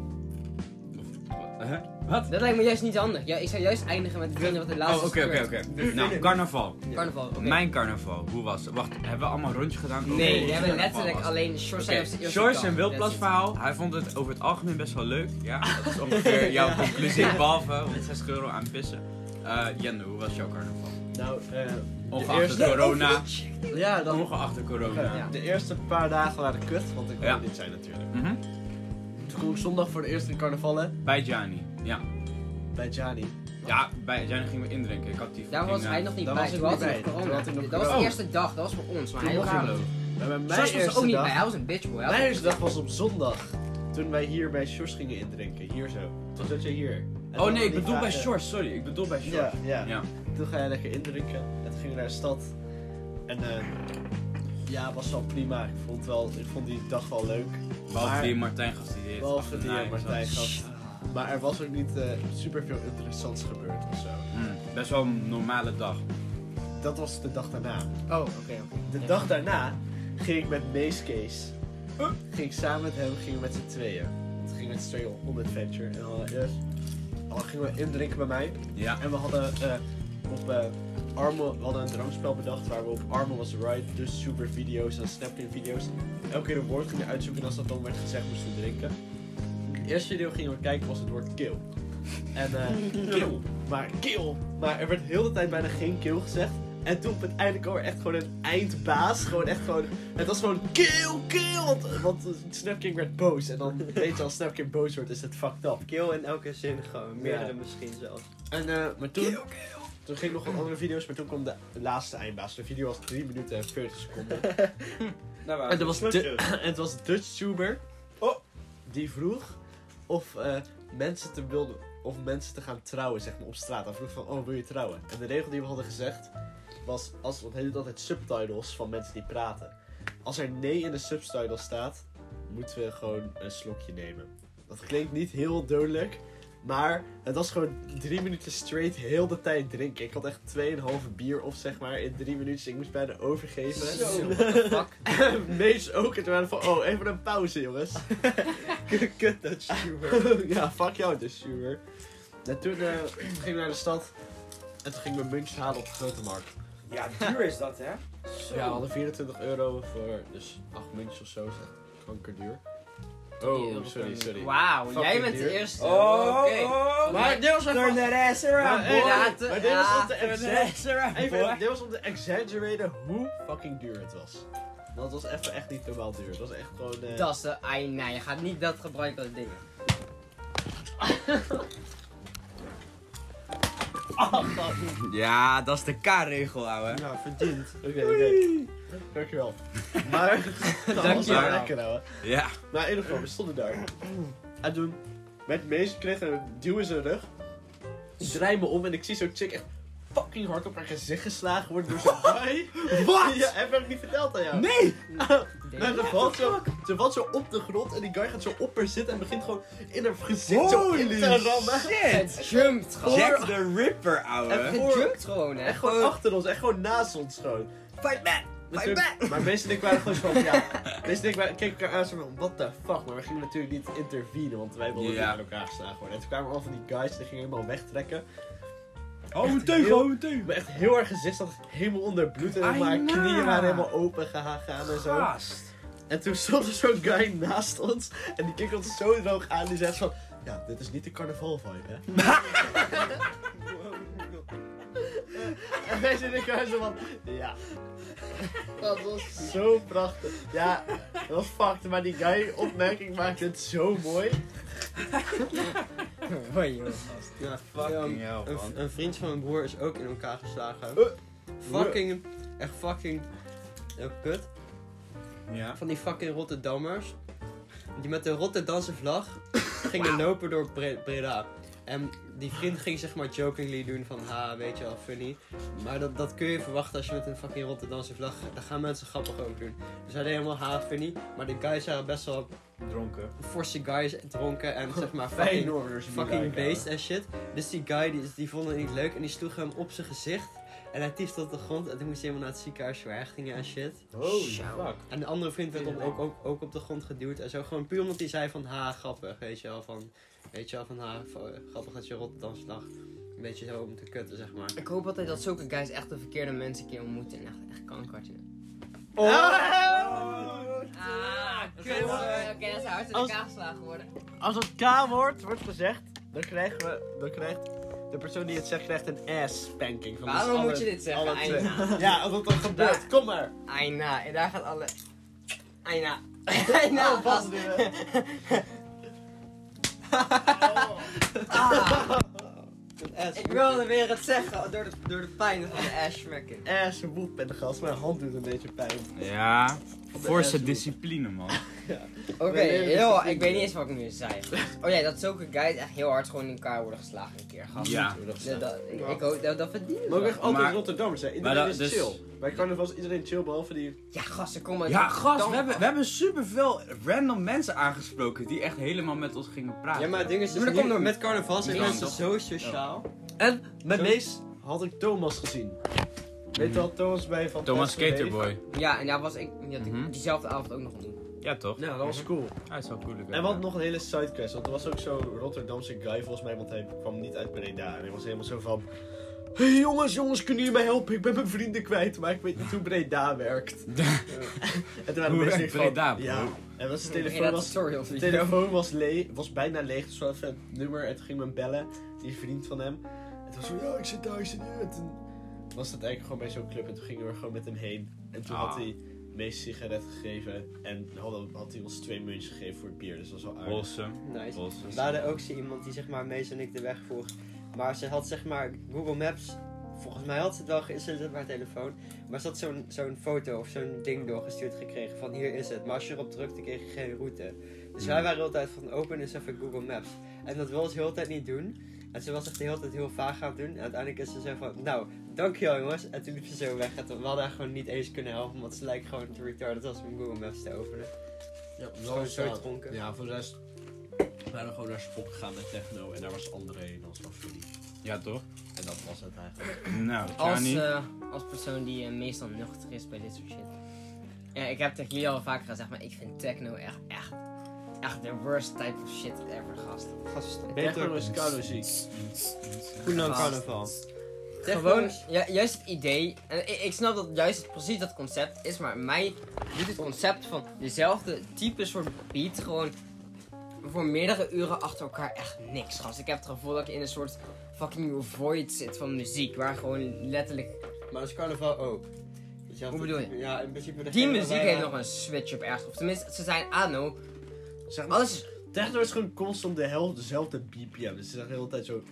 Speaker 3: Of- huh? Wat?
Speaker 2: Dat lijkt me juist niet handig. Ja, ik zou juist eindigen met hetgene wat de laatste
Speaker 3: Oh,
Speaker 2: is
Speaker 3: oké, oké,
Speaker 2: gebeurd.
Speaker 3: oké. Nou, carnaval.
Speaker 2: Carnaval, oké.
Speaker 3: Mijn carnaval, hoe was het? Wacht, hebben we allemaal een rondje gedaan? over
Speaker 2: Nee,
Speaker 3: hoe
Speaker 2: we
Speaker 3: het
Speaker 2: hebben
Speaker 3: carnaval
Speaker 2: letterlijk
Speaker 3: was?
Speaker 2: alleen Shores
Speaker 3: Oké,
Speaker 2: en zijn eerste
Speaker 3: George
Speaker 2: dag.
Speaker 3: en Wilplas
Speaker 2: That's it.
Speaker 3: verhaal. Hij vond het over het algemeen best wel leuk. Ja, dat is ongeveer jouw
Speaker 2: (laughs)
Speaker 3: conclusie. Behalve 160 euro aan pissen. Eh Jende, hoe was jouw carnaval?
Speaker 1: Nou, eh,
Speaker 3: Ongeacht
Speaker 1: eerste-
Speaker 3: het corona.
Speaker 1: ja, dan
Speaker 3: Ongeacht de corona.
Speaker 1: Ja. De eerste paar dagen waren kut, want ik kon
Speaker 3: Ja.
Speaker 1: er niet zijn natuurlijk.
Speaker 3: Mhm.
Speaker 1: Toen ging ik zondag voor de eerste carnavallen
Speaker 3: Bij Gianni. Ja.
Speaker 1: bij Gianni.
Speaker 3: ja, bij Gianni gingen we indrinken. Ik had die
Speaker 2: Daar was
Speaker 3: fucking,
Speaker 2: hij
Speaker 3: eh,
Speaker 2: nog niet
Speaker 1: daar
Speaker 2: bij.
Speaker 1: was ik
Speaker 2: Toen had
Speaker 1: niet
Speaker 2: hij nog
Speaker 1: bij.
Speaker 2: corona.
Speaker 1: Toen had hij nog
Speaker 2: Dat was de
Speaker 1: corona.
Speaker 2: eerste dag, dat was voor ons. Maar hij
Speaker 3: Toen
Speaker 2: was
Speaker 3: was Carlo.
Speaker 1: Maar bij mijn
Speaker 2: George was er
Speaker 1: eerste
Speaker 2: ook niet
Speaker 1: dag,
Speaker 2: bij, hij was een bitch boy. Hij was
Speaker 1: Mijn
Speaker 2: een
Speaker 1: eerste dag was op zondag. Toen wij hier bij Sjors gingen indrinken. Hier zo. Toen zat je hier. En
Speaker 3: Oh
Speaker 1: toen
Speaker 3: nee, ik
Speaker 1: die
Speaker 3: bedoel bij
Speaker 1: vragen-
Speaker 3: Shorts. Sorry, ik bedoel bij
Speaker 1: Ja,
Speaker 3: Shorts.
Speaker 1: ja,
Speaker 3: Ja.
Speaker 1: Toen ga je lekker indrinken. En toen gingen we naar de stad. En eh, ja, het was wel prima. Ik vond, wel, ik vond die dag wel leuk.
Speaker 3: Behalve die Martijn gestudeerd.
Speaker 1: Behalve die eh, Martijn gast.
Speaker 2: Ah.
Speaker 1: Maar er was ook niet eh super veel interessants gebeurd of zo.
Speaker 3: Mhm. best wel een normale dag.
Speaker 1: Dat was de dag daarna.
Speaker 2: Oh, oké. oké.
Speaker 1: De
Speaker 2: Ja.
Speaker 1: dag daarna ging ik met Mace Case. Ging ik samen met hem, gingen we met z'n tweeën. Want we gingen met z'n tweeën op adventure. En dan, eh, dan gingen we indrinken bij mij.
Speaker 3: Ja.
Speaker 1: En we hadden eh, op eh Armo, we hadden een drankspel bedacht waar we op Armo was right, dus super video's en Snapchat video's. Elke keer een woord gingen uitzoeken en als dat dan werd gezegd moesten we drinken. Het eerste video gingen we kijken was het woord kill. En eh kill, maar kill. Maar er werd heel de tijd bijna geen kill gezegd. En toen op het einde kwam er echt gewoon een eindbaas. Gewoon echt gewoon, het was gewoon kill, kill. Want, want Snapking werd boos. En dan weet je als Snapking boos wordt is het fucked up.
Speaker 4: Kill in elke zin gewoon. Meerdere misschien zelfs.
Speaker 1: En eh, maar toen, toen ging nog wat andere video's, maar toen kwam de laatste eindbaas. De video was 3 minuten en 40 seconden. en, er was du- en (laughs) het was DutchTuber.
Speaker 3: Oh.
Speaker 1: Die vroeg of eh, mensen te wilden, of mensen te gaan trouwen, zeg maar, op straat. Hij vroeg van, oh, wil je trouwen? En de regel die we hadden gezegd was, als, want hij doet altijd subtitles van mensen die praten. Als er nee in de subtitle staat, moeten we gewoon een slokje nemen. Dat klinkt niet heel dodelijk, Maar het was gewoon drie minuten straight heel de tijd drinken. Ik had echt 2,5 bier op, zeg maar, in drie minuten. Dus ik moest bijna overgeven.
Speaker 2: Zo, what the fuck?
Speaker 1: (laughs) Mees ook. En toen waren we van, oh, even een pauze, (laughs) jongens.
Speaker 4: Kut, dat stuur.
Speaker 1: (laughs) ja, fuck jou dus, Stuur. En toen eh, toen gingen we naar de stad. En toen gingen we muntjes halen op de grote markt.
Speaker 3: (laughs)
Speaker 1: Dus
Speaker 3: Ja, duur is dat, hè?
Speaker 1: Ja, we hadden 24 euro voor dus 8 muntjes of zo. Gewoon kankerduur.
Speaker 2: Die
Speaker 1: Oh,
Speaker 2: euro
Speaker 1: sorry,
Speaker 2: kan-
Speaker 1: sorry.
Speaker 2: Wauw,
Speaker 1: Fucking
Speaker 2: jij bent
Speaker 1: duur.
Speaker 2: de eerste.
Speaker 3: Oh,
Speaker 2: Oké.
Speaker 3: oh,
Speaker 1: Maar dit was
Speaker 3: turn
Speaker 1: even...
Speaker 3: that ass around,
Speaker 1: Maar, eh,
Speaker 3: boy.
Speaker 2: inderdaad,
Speaker 1: maar dit was
Speaker 2: ja,
Speaker 1: om te
Speaker 3: Turn
Speaker 1: exa-
Speaker 3: that ass around,
Speaker 1: Even,
Speaker 3: boy.
Speaker 1: dit was om te exaggereren hoe fucking duur het was. Want het was even echt niet normaal duur. Het was echt gewoon... eh,
Speaker 2: Dat is de ai, nee, je gaat niet dat gebruiken als ding.
Speaker 3: Ja, dat is de K-regel, ouwe.
Speaker 4: Ja, verdiend.
Speaker 1: Oké, oké. Dankjewel. (laughs) Maar... dat was wel
Speaker 3: Dankjewel.
Speaker 1: lekker, ouwe.
Speaker 3: (laughs) Ja.
Speaker 1: Maar in ieder geval, we stonden daar. En toen werd Mees kreeg een duw in zijn rug. Draai me om en ik zie zo'n chick echt fucking hard op haar gezicht geslagen worden door (laughs) zo'n guy. Wat? Ja, heb ik niet verteld aan jou. (laughs)
Speaker 3: Nee!
Speaker 1: Maar ze valt, zo, ze valt zo op de grond en die guy gaat zo op haar zitten en begint gewoon in haar gezicht zo in te rammen.
Speaker 3: shit!
Speaker 2: Het jumpt gewoon.
Speaker 3: Jack the Ripper, ouwe.
Speaker 1: Even-
Speaker 2: Het jumpt gewoon, hè?
Speaker 1: Echt gewoon achter ons, echt gewoon naast ons gewoon.
Speaker 3: Fight back!
Speaker 1: Maar toen- Maar mensen en ik waren gewoon zo van, ja. Mensen en ik waren, keken elkaar aan zo van, what the fuck. Maar we gingen natuurlijk niet intervenen, want wij wilden
Speaker 3: Ja.
Speaker 1: niet aan elkaar geslagen worden. En toen kwamen al van die guys, die gingen helemaal wegtrekken.
Speaker 3: Hou me
Speaker 1: tegen, hou
Speaker 3: me
Speaker 1: Ik
Speaker 3: tegen.
Speaker 1: ben echt heel erg gezicht, zat helemaal onder bloed. En
Speaker 3: Ai,
Speaker 1: mijn
Speaker 3: na.
Speaker 1: knieën waren helemaal open gegaan en
Speaker 3: Ah.
Speaker 1: zo.
Speaker 3: Gast.
Speaker 1: En toen stond er zo'n guy naast ons. En die keek ons zo droog aan. Die zei van, ja, dit is niet de carnaval vibe,
Speaker 4: (laughs)
Speaker 1: hè. En wij zitten in elkaar zo van, ja. Dat was zo prachtig. Ja, dat was fucked. Maar die guy opmerking maakte het zo mooi.
Speaker 2: Hoi, joh, gast.
Speaker 4: Ja,
Speaker 3: Fucking
Speaker 4: ja,
Speaker 3: hell,
Speaker 4: een,
Speaker 3: man.
Speaker 4: een vriend van mijn broer is ook in elkaar geslagen.
Speaker 1: Eh,
Speaker 4: Fucking, echt fucking eh, kut.
Speaker 3: Ja.
Speaker 4: Van die fucking Rotterdammers. Die met de Rotterdamse vlag gingen lopen door Bre- Breda. En die vriend ging zeg maar jokingly doen van ha, weet je wel, funny. Maar dat, dat kun je verwachten als je met een fucking Rotterdamse vlag gaat. Daar gaan mensen grappig over doen. Dus hij deed helemaal ha, funny. Maar de guys waren best wel
Speaker 3: Dronken.
Speaker 4: forse guys dronken en zeg maar fucking
Speaker 1: Feyenoorders. die guy,
Speaker 4: fucking
Speaker 1: ouwe.
Speaker 4: beest en shit. Dus die guy die, die vond het niet leuk en die sloeg hem op zijn gezicht. En hij tiefde op de grond en toen moest hij helemaal naar het ziekenhuis voor hechtingen en shit.
Speaker 1: Holy
Speaker 2: Zo.
Speaker 1: fuck.
Speaker 4: En de andere vriend werd op, ook, ook, ook op de grond geduwd en zo. Gewoon puur omdat hij zei van ha, grappig, weet je wel. Van, weet je wel, van ha, van, grappig dat je Rotterdamse lag. Een beetje zo om te kutten, zeg maar.
Speaker 2: Ik hoop altijd dat zulke guys echt de verkeerde mensen een keer ontmoeten en echt, echt kankertje.
Speaker 4: Oh.
Speaker 2: Ah, kut. Oké, dat is hard in
Speaker 1: Als-
Speaker 2: elkaar geslagen worden.
Speaker 1: (laughs) Als het K-woord wordt gezegd, dan krijgen we, dan krijgt de persoon die het zegt, krijgt een ass-spanking. van ons
Speaker 4: dus
Speaker 2: Waarom
Speaker 1: allen-
Speaker 2: moet je dit zeggen,
Speaker 1: alle twee.
Speaker 2: Aina?
Speaker 1: Ja, omdat dat gebeurt. Kom maar.
Speaker 2: Aina, en daar gaat alle... Aina. (laughs) Aina,
Speaker 1: Oh, pas
Speaker 2: gast.
Speaker 1: nu, (laughs) hè.
Speaker 2: Ah. Ik wilde weer het zeggen door de, door de pijn van de ash smacken.
Speaker 1: Ass woep en de gast. Mijn hand doet een beetje pijn.
Speaker 3: Ja. Forse
Speaker 1: Forse
Speaker 3: discipline, man.
Speaker 2: Oké, joh, ik weet niet eens wat ik nu zei. Oh ja, dat zulke guys echt heel hard gewoon in elkaar worden geslagen een keer, gast.
Speaker 3: Ja.
Speaker 2: Dat, dat, ik, ik hoop dat, dat verdienen
Speaker 1: Maar ook
Speaker 2: ze.
Speaker 1: echt altijd
Speaker 3: Maar-
Speaker 1: Rotterdammers, hè. Iedereen
Speaker 3: maar dat-
Speaker 1: is
Speaker 3: dus-
Speaker 1: chill. Bij carnaval is iedereen chill, behalve die...
Speaker 2: Ja, gast, ze komen
Speaker 3: Ja, gast,
Speaker 2: dan-
Speaker 3: we hebben, we hebben superveel random mensen aangesproken die echt helemaal met ons gingen praten.
Speaker 4: Ja, maar het ding is,
Speaker 2: Maar dat
Speaker 4: dus nu-
Speaker 2: komt door-
Speaker 4: met carnaval zijn
Speaker 3: Ja,
Speaker 4: mensen
Speaker 3: toch?
Speaker 4: zo sociaal.
Speaker 1: En met
Speaker 4: Zo-
Speaker 1: Mees had ik Thomas gezien. Weet je wel, Thomas bij Van
Speaker 3: Mhm. Thomas
Speaker 1: Tessen,
Speaker 3: Skaterboy.
Speaker 2: Ja, en daar was ik, die had ik
Speaker 3: Mhm.
Speaker 2: diezelfde avond ook nog ontmoet.
Speaker 3: Ja, toch?
Speaker 1: Nee, dat was cool.
Speaker 3: Hij is wel cool. ik weet
Speaker 1: En wat
Speaker 3: het.
Speaker 1: nog een hele sidequest, want er was ook zo'n Rotterdamse guy volgens mij, want hij kwam niet uit Breda. En hij was helemaal zo van... Hé hey, jongens, jongens, kunnen jullie mij helpen? Ik ben mijn vrienden kwijt, maar ik weet niet hoe Breda
Speaker 3: (laughs)
Speaker 1: werkt. en toen waren
Speaker 3: Hoe
Speaker 1: de mensen
Speaker 3: werkt
Speaker 1: van,
Speaker 3: Breda, bro?
Speaker 1: Ja, en was de telefoon
Speaker 2: dat
Speaker 1: was...
Speaker 2: tutorial video.
Speaker 1: De telefoon was, leeg, was bijna leeg, dus we hadden even het nummer en toen ging men bellen, die vriend van hem. En toen was hij zo, ja, ik zit thuis en nu. En toen was dat eigenlijk gewoon bij zo'n club en toen gingen we gewoon met hem heen. En toen
Speaker 3: Ah.
Speaker 1: had hij meest sigaret gegeven en had, had hij ons twee muntjes gegeven voor het bier, dus dat was wel aardig.
Speaker 3: Awesome.
Speaker 4: Nice. We
Speaker 3: Awesome.
Speaker 4: hadden ook zo iemand die zeg maar Mees en ik de weg vroeg. Maar ze had zeg maar Google Maps. Volgens mij had ze het wel geïnstalleerd op haar telefoon. Maar ze had zo'n zo'n foto of zo'n ding doorgestuurd gekregen van hier is het. Maar als je erop drukte kreeg je geen route. Dus wij
Speaker 3: Hmm.
Speaker 4: waren de hele tijd van open eens even Google Maps. En dat wilde ze de hele tijd niet doen. En ze was echt de hele tijd heel vaag aan het doen. En uiteindelijk is ze zo van, nou, dankjewel jongens. En toen liep ze zo weg. En toen- we hadden haar gewoon niet eens kunnen helpen. Want ze lijkt gewoon te retarded als we Google Maps te openen.
Speaker 1: Ja,
Speaker 4: Gewoon zo dronken.
Speaker 1: Ja, voor de rest. waren we gewoon naar Spok gegaan met techno en daar was André en dan was Philly.
Speaker 3: Ja, toch?
Speaker 1: En dat was het eigenlijk.
Speaker 3: Nou,
Speaker 2: Als,
Speaker 3: Johnny.
Speaker 2: eh, als persoon die eh, meestal nuchter is bij dit soort shit. Ja, ik heb tegen jullie al vaker gezegd, maar ik vind techno echt, echt, echt de worst type of shit ever, gast.
Speaker 4: Gasten.
Speaker 1: Beter is koude ziek.
Speaker 4: Goed dan
Speaker 2: Gast.
Speaker 4: carnaval.
Speaker 2: Gewoon, ja, juist het idee, en ik, ik snap dat juist precies dat concept is, maar mij doet het concept van dezelfde type soort beat gewoon voor meerdere uren achter elkaar echt niks, gast. Ik heb het gevoel dat ik in een soort fucking void zit van muziek, waar gewoon letterlijk...
Speaker 4: Maar dat is carnaval ook. Dus je had
Speaker 2: Hoe
Speaker 4: het-
Speaker 2: bedoel je?
Speaker 4: Ja, in principe...
Speaker 2: Die
Speaker 4: degene
Speaker 2: muziek
Speaker 4: waarbij-
Speaker 2: heeft nog een switch op ergens, of tenminste, ze zijn ano,
Speaker 1: Zeg maar,
Speaker 2: alles is
Speaker 1: techno is gewoon constant de helft dezelfde BPM. Dus ze zeggen de hele tijd zo...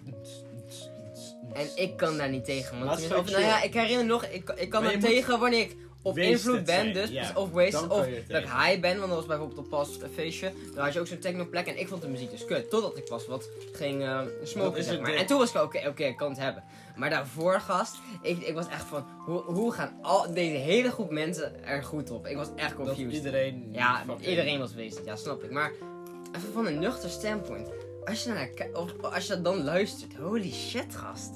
Speaker 2: En ik kan daar niet tegen. Want
Speaker 4: Maar het is
Speaker 2: tenminste, of, nou
Speaker 4: gewoon
Speaker 2: ja, ik herinner nog, ik, ik
Speaker 1: Maar
Speaker 2: kan daar
Speaker 1: je moet
Speaker 2: tegen wanneer ik op
Speaker 1: wasted
Speaker 2: invloed ben,
Speaker 1: zijn,
Speaker 2: dus,
Speaker 1: ja.
Speaker 2: dus of
Speaker 1: Dan
Speaker 2: wasted,
Speaker 1: kan
Speaker 2: of
Speaker 1: je het
Speaker 2: dat ik
Speaker 1: tegen.
Speaker 2: high ben, want dat was bijvoorbeeld op pas een feestje, daar had je ook zo'n technoplek en ik vond de muziek dus kut, totdat ik pas wat ging eh,
Speaker 1: Dat
Speaker 2: smoken,
Speaker 1: is
Speaker 2: zeg
Speaker 1: het
Speaker 2: maar.
Speaker 1: ding.
Speaker 2: En toen was ik oké, oké, ik kan het hebben. Maar daarvoor, gast, ik, ik was echt van, hoe, hoe gaan al deze hele groep mensen er goed op? Ik was echt
Speaker 1: Dat
Speaker 2: confused.
Speaker 1: iedereen...
Speaker 3: Mm,
Speaker 2: Ja,
Speaker 1: fucking-
Speaker 2: iedereen was wasted, ja, snap ik. Maar even van een nuchter standpoint, als je, naar, ki- of, als je dat dan luistert, holy shit, gast.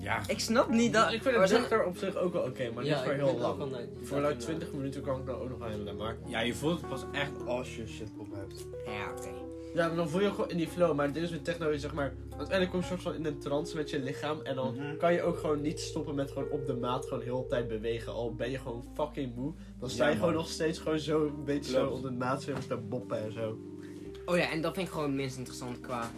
Speaker 3: Ja.
Speaker 2: Ik snap niet dat.
Speaker 1: Ik vind
Speaker 2: maar
Speaker 1: het
Speaker 2: dan-
Speaker 1: nuchter op zich ook wel oké, maar niet
Speaker 4: Ja,
Speaker 1: voor
Speaker 4: ik
Speaker 1: heel
Speaker 4: vind het ook
Speaker 1: lang.
Speaker 4: wel nice.
Speaker 1: Voor like 20 minuten kan ik nou ook nog aan maar...
Speaker 3: ja, je voelt het pas echt als je shit op hebt.
Speaker 2: Ja, oké.
Speaker 1: Ja, maar dan voel je gewoon in die flow. Maar dit is met techno, je zeg maar... Uiteindelijk kom je soort van in een trance met je lichaam. En dan
Speaker 3: Mhm.
Speaker 1: kan je ook gewoon niet stoppen met gewoon op de maat gewoon heel de tijd bewegen. Al ben je gewoon fucking moe. Dan sta
Speaker 3: Ja,
Speaker 1: je gewoon
Speaker 3: man.
Speaker 1: nog steeds gewoon zo een beetje
Speaker 3: Klopt.
Speaker 1: zo op de maat zo te boppen en zo.
Speaker 2: Oh ja, en dat vind ik gewoon het minst interessant qua.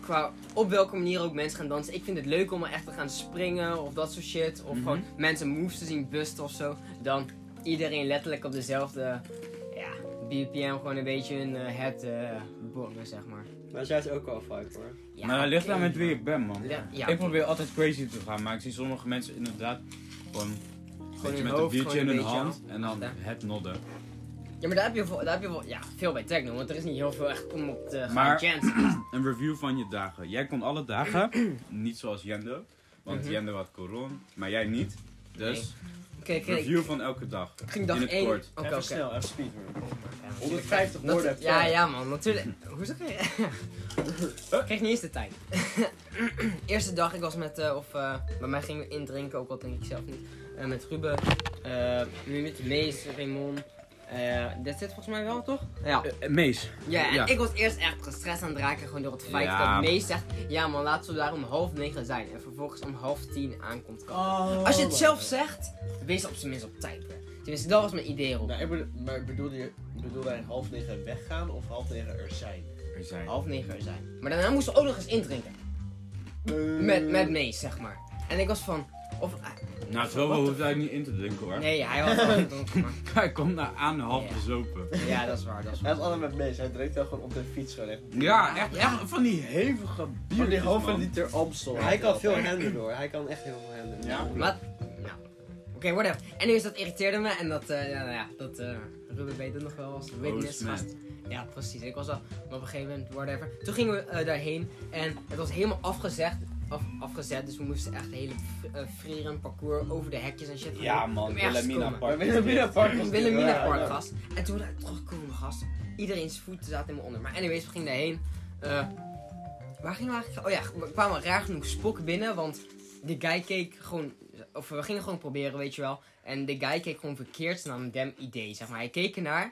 Speaker 2: Qua op welke manier ook mensen gaan dansen. Ik vind het leuk om er echt te gaan springen of dat soort shit. Of
Speaker 3: Mhm.
Speaker 2: gewoon mensen moves te zien busten of zo. Dan iedereen letterlijk op dezelfde ja, BPM gewoon een beetje hun eh, het eh bongen, zeg maar.
Speaker 4: Maar zij is ook wel vibe hoor.
Speaker 2: Ja,
Speaker 3: maar dat ligt
Speaker 2: oké.
Speaker 3: aan met wie ik ben, man.
Speaker 2: Ja, ja.
Speaker 3: Ik probeer altijd crazy te gaan, maar ik zie sommige mensen inderdaad gewoon... een beetje
Speaker 2: hun
Speaker 3: met
Speaker 2: hoofd,
Speaker 3: een biertje
Speaker 2: gewoon
Speaker 3: in hun
Speaker 2: een beetje
Speaker 3: hand
Speaker 2: aan-
Speaker 3: en dan
Speaker 2: achter.
Speaker 3: het nodden.
Speaker 2: Ja, maar daar heb je, veel- daar heb je wel, ja, veel bij techno, want er is niet heel veel echt om op te gaan
Speaker 3: Maar- (clears throat)
Speaker 2: chanten.
Speaker 3: Een review van je dagen. Jij kon alle
Speaker 2: (clears throat)
Speaker 3: dagen, niet zoals Jendo, want
Speaker 2: Mhm.
Speaker 3: Jendo had corona, maar jij niet. Dus,
Speaker 2: Oké, oké.
Speaker 3: review van elke dag.
Speaker 2: Ik ging dag
Speaker 3: in het
Speaker 2: 1.
Speaker 3: kort.
Speaker 2: Oké,
Speaker 1: even
Speaker 2: oké.
Speaker 1: snel, even speed. man.
Speaker 2: Ja, natuurlijk.
Speaker 1: 150
Speaker 2: Natu-
Speaker 1: woorden heb je.
Speaker 2: ja, ja man, natuurlijk. (laughs) Hoezo kreeg (laughs) ik kreeg niet eens de tijd. (clears throat) Eerste dag, ik was met, eh, of eh, bij mij gingen we indrinken, ook al denk ik zelf niet. Eh, met Ruben, eh, nu met Mees, Raymond. Eh dat zit volgens mij wel, toch? Ja.
Speaker 3: Eh, mees.
Speaker 2: Ja, en
Speaker 3: Ja.
Speaker 2: ik was eerst echt gestrest aan het raken, gewoon door het feit
Speaker 3: Ja.
Speaker 2: dat Mees zegt, ja man, laten we daar om half negen zijn. En vervolgens om half tien aankomt.
Speaker 1: Oh.
Speaker 2: Als je het zelf zegt, wees op zijn minst op tijd. hè. Tenminste, dat was mijn idee erop.
Speaker 1: Maar, Nou, ik bedoel, maar bedoel, je, bedoel wij half negen weggaan of half negen er zijn?
Speaker 3: Er zijn.
Speaker 2: half negen uur zijn. Maar daarna moesten we ook nog eens indrinken.
Speaker 3: Mm.
Speaker 2: Met,
Speaker 1: Ehm,
Speaker 2: met Mees, zeg maar. En ik was van. Of,
Speaker 3: Nou, zo
Speaker 2: What the
Speaker 3: hoeft hij niet in te drinken hoor.
Speaker 2: nee, hij was wel gedronken, maar.
Speaker 3: (laughs) Hij komt naar aan half
Speaker 2: Ja.
Speaker 3: bezopen.
Speaker 2: Ja, dat is waar, dat is
Speaker 1: Hij
Speaker 2: waar.
Speaker 1: is allemaal met mees. Hij drinkt wel gewoon op de fiets gewoon echt.
Speaker 3: Ja, echt, echt van die hevige
Speaker 1: Van die
Speaker 3: biertjes,
Speaker 1: halve
Speaker 3: man.
Speaker 1: liter Amstel.
Speaker 4: Hij kan veel
Speaker 1: Ja,
Speaker 4: handelen hoor. Hij kan echt heel veel handelen.
Speaker 3: Ja.
Speaker 2: Wat? Nou. Oké, whatever. En dus dat irriteerde me en dat, eh ja, nou ja, dat eh Ruben weet het nog wel als witness
Speaker 3: man.
Speaker 2: gast. Ja, precies. Ik was al, maar op een gegeven moment, whatever. Toen gingen we eh, daarheen en het was helemaal afgezegd, af, afgezet, dus we moesten echt een hele v- eh, frierend parcours over de hekjes en shit. gaan
Speaker 3: Ja
Speaker 2: doen om
Speaker 3: man,
Speaker 2: ergens te
Speaker 3: Wilhelmina
Speaker 2: komen.
Speaker 1: Maar
Speaker 3: Park.
Speaker 1: Wilhelmina Park was
Speaker 2: Ik wil een
Speaker 1: Ja, ja.
Speaker 2: mina gast. En toen we daar terugkomen, gast. Iedereen's voeten zaten in me onder. Maar anyways, we gingen daarheen. Eh, waar gingen we eigenlijk? Oh ja, we kwamen raar genoeg spok binnen, want de guy keek gewoon... Of we gingen gewoon proberen, weet je wel. En de guy keek gewoon verkeerd naar een dem idee, zeg maar. Hij keek ernaar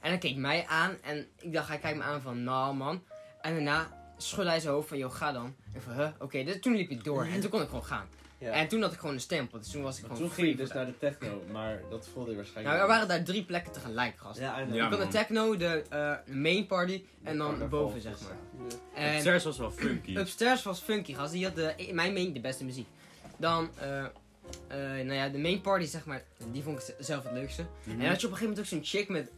Speaker 2: en hij keek mij aan. En ik dacht, hij kijkt me aan van, nou man. En daarna schudde hij zijn hoofd van, joh, ga dan. En van, huh, oké. Dus toen liep ik door en toen kon ik gewoon gaan.
Speaker 4: Ja.
Speaker 2: En toen had ik gewoon een stempel, dus toen was ik
Speaker 1: Maar
Speaker 2: gewoon
Speaker 1: toen ging je
Speaker 2: free
Speaker 1: dus naar de techno, maar dat voelde je waarschijnlijk.
Speaker 2: nou, er waren daar drie plekken tegelijk, gast.
Speaker 1: Ja, I know.
Speaker 3: Ja.
Speaker 2: je kon de
Speaker 3: man.
Speaker 2: techno, de eh, main party en
Speaker 1: Ja,
Speaker 2: dan
Speaker 1: daar valt
Speaker 2: boven, zeg
Speaker 1: het dus,
Speaker 2: maar.
Speaker 4: Ja.
Speaker 2: En
Speaker 3: Upstairs was wel funky.
Speaker 2: upstairs was Funky, gast. Die had de, in mijn mening de beste muziek. Dan, eh, eh, nou ja, de main party, zeg maar, die vond ik z- zelf het leukste.
Speaker 1: Mhm.
Speaker 2: En dan had je op een gegeven moment ook zo'n chick met...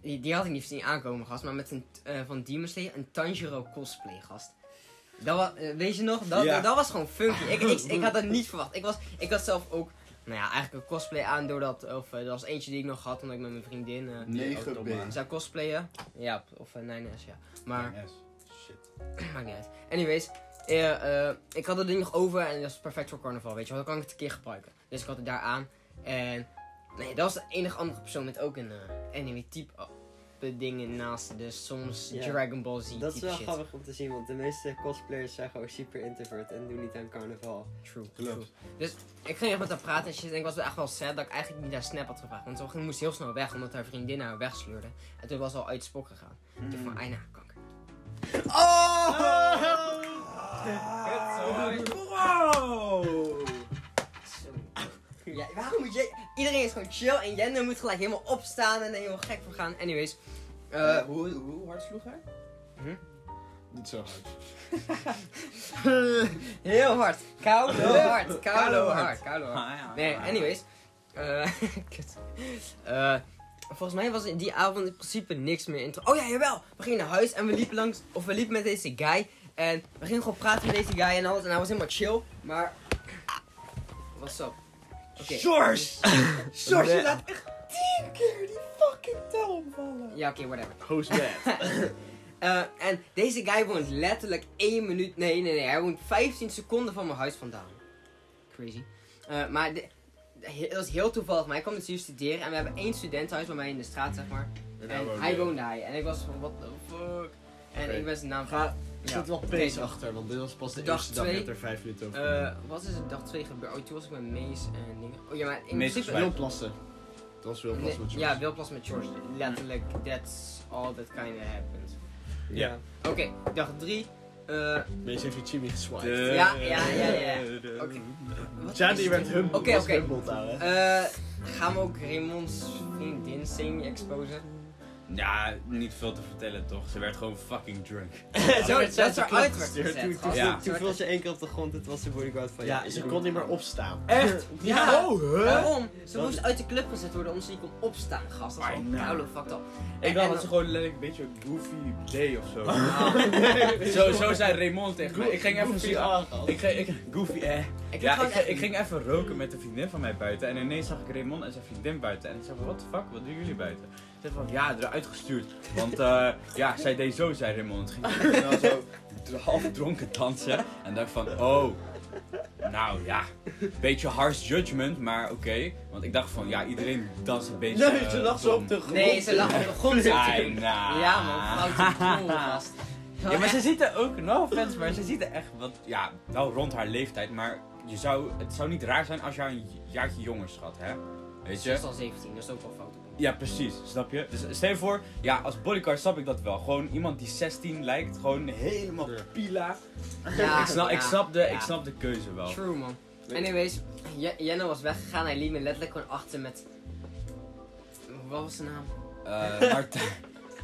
Speaker 2: Die, die had ik niet zien aankomen, gast. Maar met een, eh, van Demon Slayer, een Tanjiro cosplay, gast. Dat was, weet je nog? Dat,
Speaker 1: Ja.
Speaker 2: dat, dat was gewoon funky. ik, ik, ik had dat niet verwacht. Ik, was, ik had zelf ook... Nou ja, eigenlijk een cosplay aan doordat... Of eh, er was eentje die ik nog had, omdat ik met mijn vriendin... eh,
Speaker 1: Autobaan.
Speaker 2: zou cosplayen? Ja, of uh, 9S, ja. Maar,
Speaker 3: Shit.
Speaker 2: (clears throat) maakt niet uit. Anyways, eh, eh, ik had dat ding nog over en dat is perfect voor carnaval, weet je wel. Dan kan ik het een keer gebruiken. Dus ik had het daar aan. En, nee, dat was de enige andere persoon met ook een eh, anime type. oh, cosplay dingen naast de soms
Speaker 4: Ja.
Speaker 2: Dragon Ball Z
Speaker 4: Dat is
Speaker 2: type
Speaker 4: wel
Speaker 2: shit.
Speaker 4: grappig om te zien, want de meeste cosplayers zijn gewoon super introvert en doen niet aan carnaval.
Speaker 2: True, true.
Speaker 1: Klopt.
Speaker 2: Dus ik ging echt met haar praten en shit. En ik was wel echt wel sad dat ik eigenlijk niet haar snap had gevraagd. Want ze ging- moest heel snel weg, omdat haar vriendin haar wegsleurde. En toen was ze al uit het spok gegaan. Toen
Speaker 4: Hmm.
Speaker 2: vond ik, ai, nou, kanker.
Speaker 4: Oh!
Speaker 3: Wow!
Speaker 2: Ja, waarom moet jij... Iedereen is gewoon chill en Jende moet gelijk helemaal opstaan en er helemaal gek voor gaan. Anyways. eh,
Speaker 3: hoe, hoe hard sloeg hij?
Speaker 1: Niet zo hard.
Speaker 2: heel hard. Koude hard. Koude
Speaker 3: Koude
Speaker 2: hard.
Speaker 3: hard.
Speaker 2: Koude hard.
Speaker 3: Ah, ja.
Speaker 2: Nee, anyways. Eh, (laughs) kut. Eh, volgens mij was in die avond in principe niks meer intro. Oh ja, jawel! We gingen naar huis en we liepen langs. Of we liepen met deze guy. En we gingen gewoon praten met deze guy en alles. En hij was helemaal chill. Maar. What's up? Oké.
Speaker 3: George! George,
Speaker 2: Nee.
Speaker 3: je laat echt tien keer die fucking tel vallen.
Speaker 2: Ja, oké, whatever.
Speaker 1: Host bad.
Speaker 2: Eh, en deze guy woont letterlijk 1 minuut. Nee, nee, nee. Hij woont 15 seconden van mijn huis vandaan. Crazy. Eh, maar de- de- he- dat is heel toevallig. Maar hij kwam dus hier studeren. En we hebben één studentenhuis bij mij in de straat, zeg maar. En, hij woonde hij. En ik was van, what the fuck. En
Speaker 1: Oké.
Speaker 2: ik ben zijn naam
Speaker 1: Ga-
Speaker 2: van.
Speaker 1: Er zit wel
Speaker 2: Oké,
Speaker 1: pees
Speaker 2: zo.
Speaker 1: achter, want dit was pas de
Speaker 2: Dag
Speaker 1: eerste dag. Je
Speaker 2: twee.
Speaker 1: hebt er vijf minuten over. gedaan.
Speaker 2: Eh, wat is het dag 2 gebeurd? Oh, toen was ik met Mees en dingen. Oh ja, maar in
Speaker 3: Mees
Speaker 2: principe...
Speaker 3: is
Speaker 1: Wil plassen. Dat was wil
Speaker 2: Nee,
Speaker 1: plassen met
Speaker 2: ja,
Speaker 1: George.
Speaker 2: Wilplas met George. Letterlijk, that's all that kinda happened.
Speaker 1: Ja.
Speaker 2: Oké, dag Eh, 3.
Speaker 1: Mees heeft je chimie geswiped.
Speaker 2: Ja, ja, ja, ja. Oké.
Speaker 1: Shadi werd humbled.
Speaker 2: Oké,
Speaker 1: was
Speaker 2: oké.
Speaker 1: humbled daar, hè.
Speaker 2: Eh, gaan we ook Raymond's vriendin Sing
Speaker 3: (laughs)
Speaker 2: exposen?
Speaker 3: Ja, niet veel te vertellen toch? Ze werd gewoon fucking drunk.
Speaker 2: Zo,
Speaker 1: werd
Speaker 2: dat
Speaker 1: zelfs
Speaker 2: is
Speaker 1: de
Speaker 2: haar
Speaker 1: klok
Speaker 2: uit werd
Speaker 1: gestuurd.
Speaker 2: gezet. Oh,
Speaker 1: Toen-
Speaker 2: gast.
Speaker 3: Ja.
Speaker 4: Toen viel ze één keer op de grond, dit was de bodyguard van
Speaker 1: Ja,
Speaker 4: je.
Speaker 1: ze kon niet meer opstaan.
Speaker 3: Echt?
Speaker 2: eh, Ja.
Speaker 3: Oh, hè?
Speaker 2: Waarom? Ze
Speaker 1: Dat-
Speaker 2: moest uit de club gezet worden omdat ze niet kon opstaan, gast. Dat is
Speaker 3: I
Speaker 2: wel
Speaker 3: know.
Speaker 2: koude fucked up.
Speaker 3: Ik dacht dat ze gewoon letterlijk een beetje een goofy deed of zo. Oh. (laughs) zo. Zo zei Raymond tegen me. Ik ging even
Speaker 1: Goofy
Speaker 3: zien.
Speaker 1: aangehaald.
Speaker 3: ah. Ik ging, ik, goofy eh.
Speaker 2: Ik
Speaker 3: Ja,
Speaker 2: heb
Speaker 3: ik,
Speaker 2: gewoon
Speaker 3: ik ging even roken met een vriendin van mij buiten. En ineens zag ik Raymond en zijn vriendin buiten. En ik zei van, what the fuck, wat doen jullie buiten? Ze zei van, ja, eruit gestuurd. Want eh, ja, zij deed zo, zei Raymond. Ging ik dan zo dr- half dronken dansen. En dacht van, oh, nou ja. Beetje harsh judgment, maar oké. Want ik dacht van, ja, iedereen danst een
Speaker 1: (laughs)
Speaker 3: beetje
Speaker 1: Nee, ze
Speaker 3: eh,
Speaker 1: lag zo
Speaker 3: dom.
Speaker 1: op de grond.
Speaker 2: Nee, ze lag op de grond
Speaker 3: (laughs)
Speaker 2: zitten.
Speaker 3: Ai, nou.
Speaker 2: Ja, man, fout gast.
Speaker 3: Ja, maar ze ziet er ook, no offense, maar ze ziet er echt wat, ja, wel rond haar leeftijd, maar je zou, het zou niet raar zijn als je haar een jaartje jonger schat, hè? Weet
Speaker 2: Ze
Speaker 3: je?
Speaker 2: is al 17, dat is ook wel fout.
Speaker 3: (laughs) Ja, precies, snap je? Dus stel je voor, ja, als bodyguard snap ik dat wel. Gewoon iemand die 16 lijkt, gewoon helemaal
Speaker 1: Ja.
Speaker 3: pila.
Speaker 2: Ja,
Speaker 3: ik, snap, ik,
Speaker 2: ja,
Speaker 3: snap de,
Speaker 2: ja.
Speaker 3: ik snap de keuze wel.
Speaker 2: True, man. Anyways, Je- Jenna was weggegaan. Hij liet me letterlijk gewoon achter met... Wat was zijn naam? (laughs)
Speaker 3: Eh, Martijn.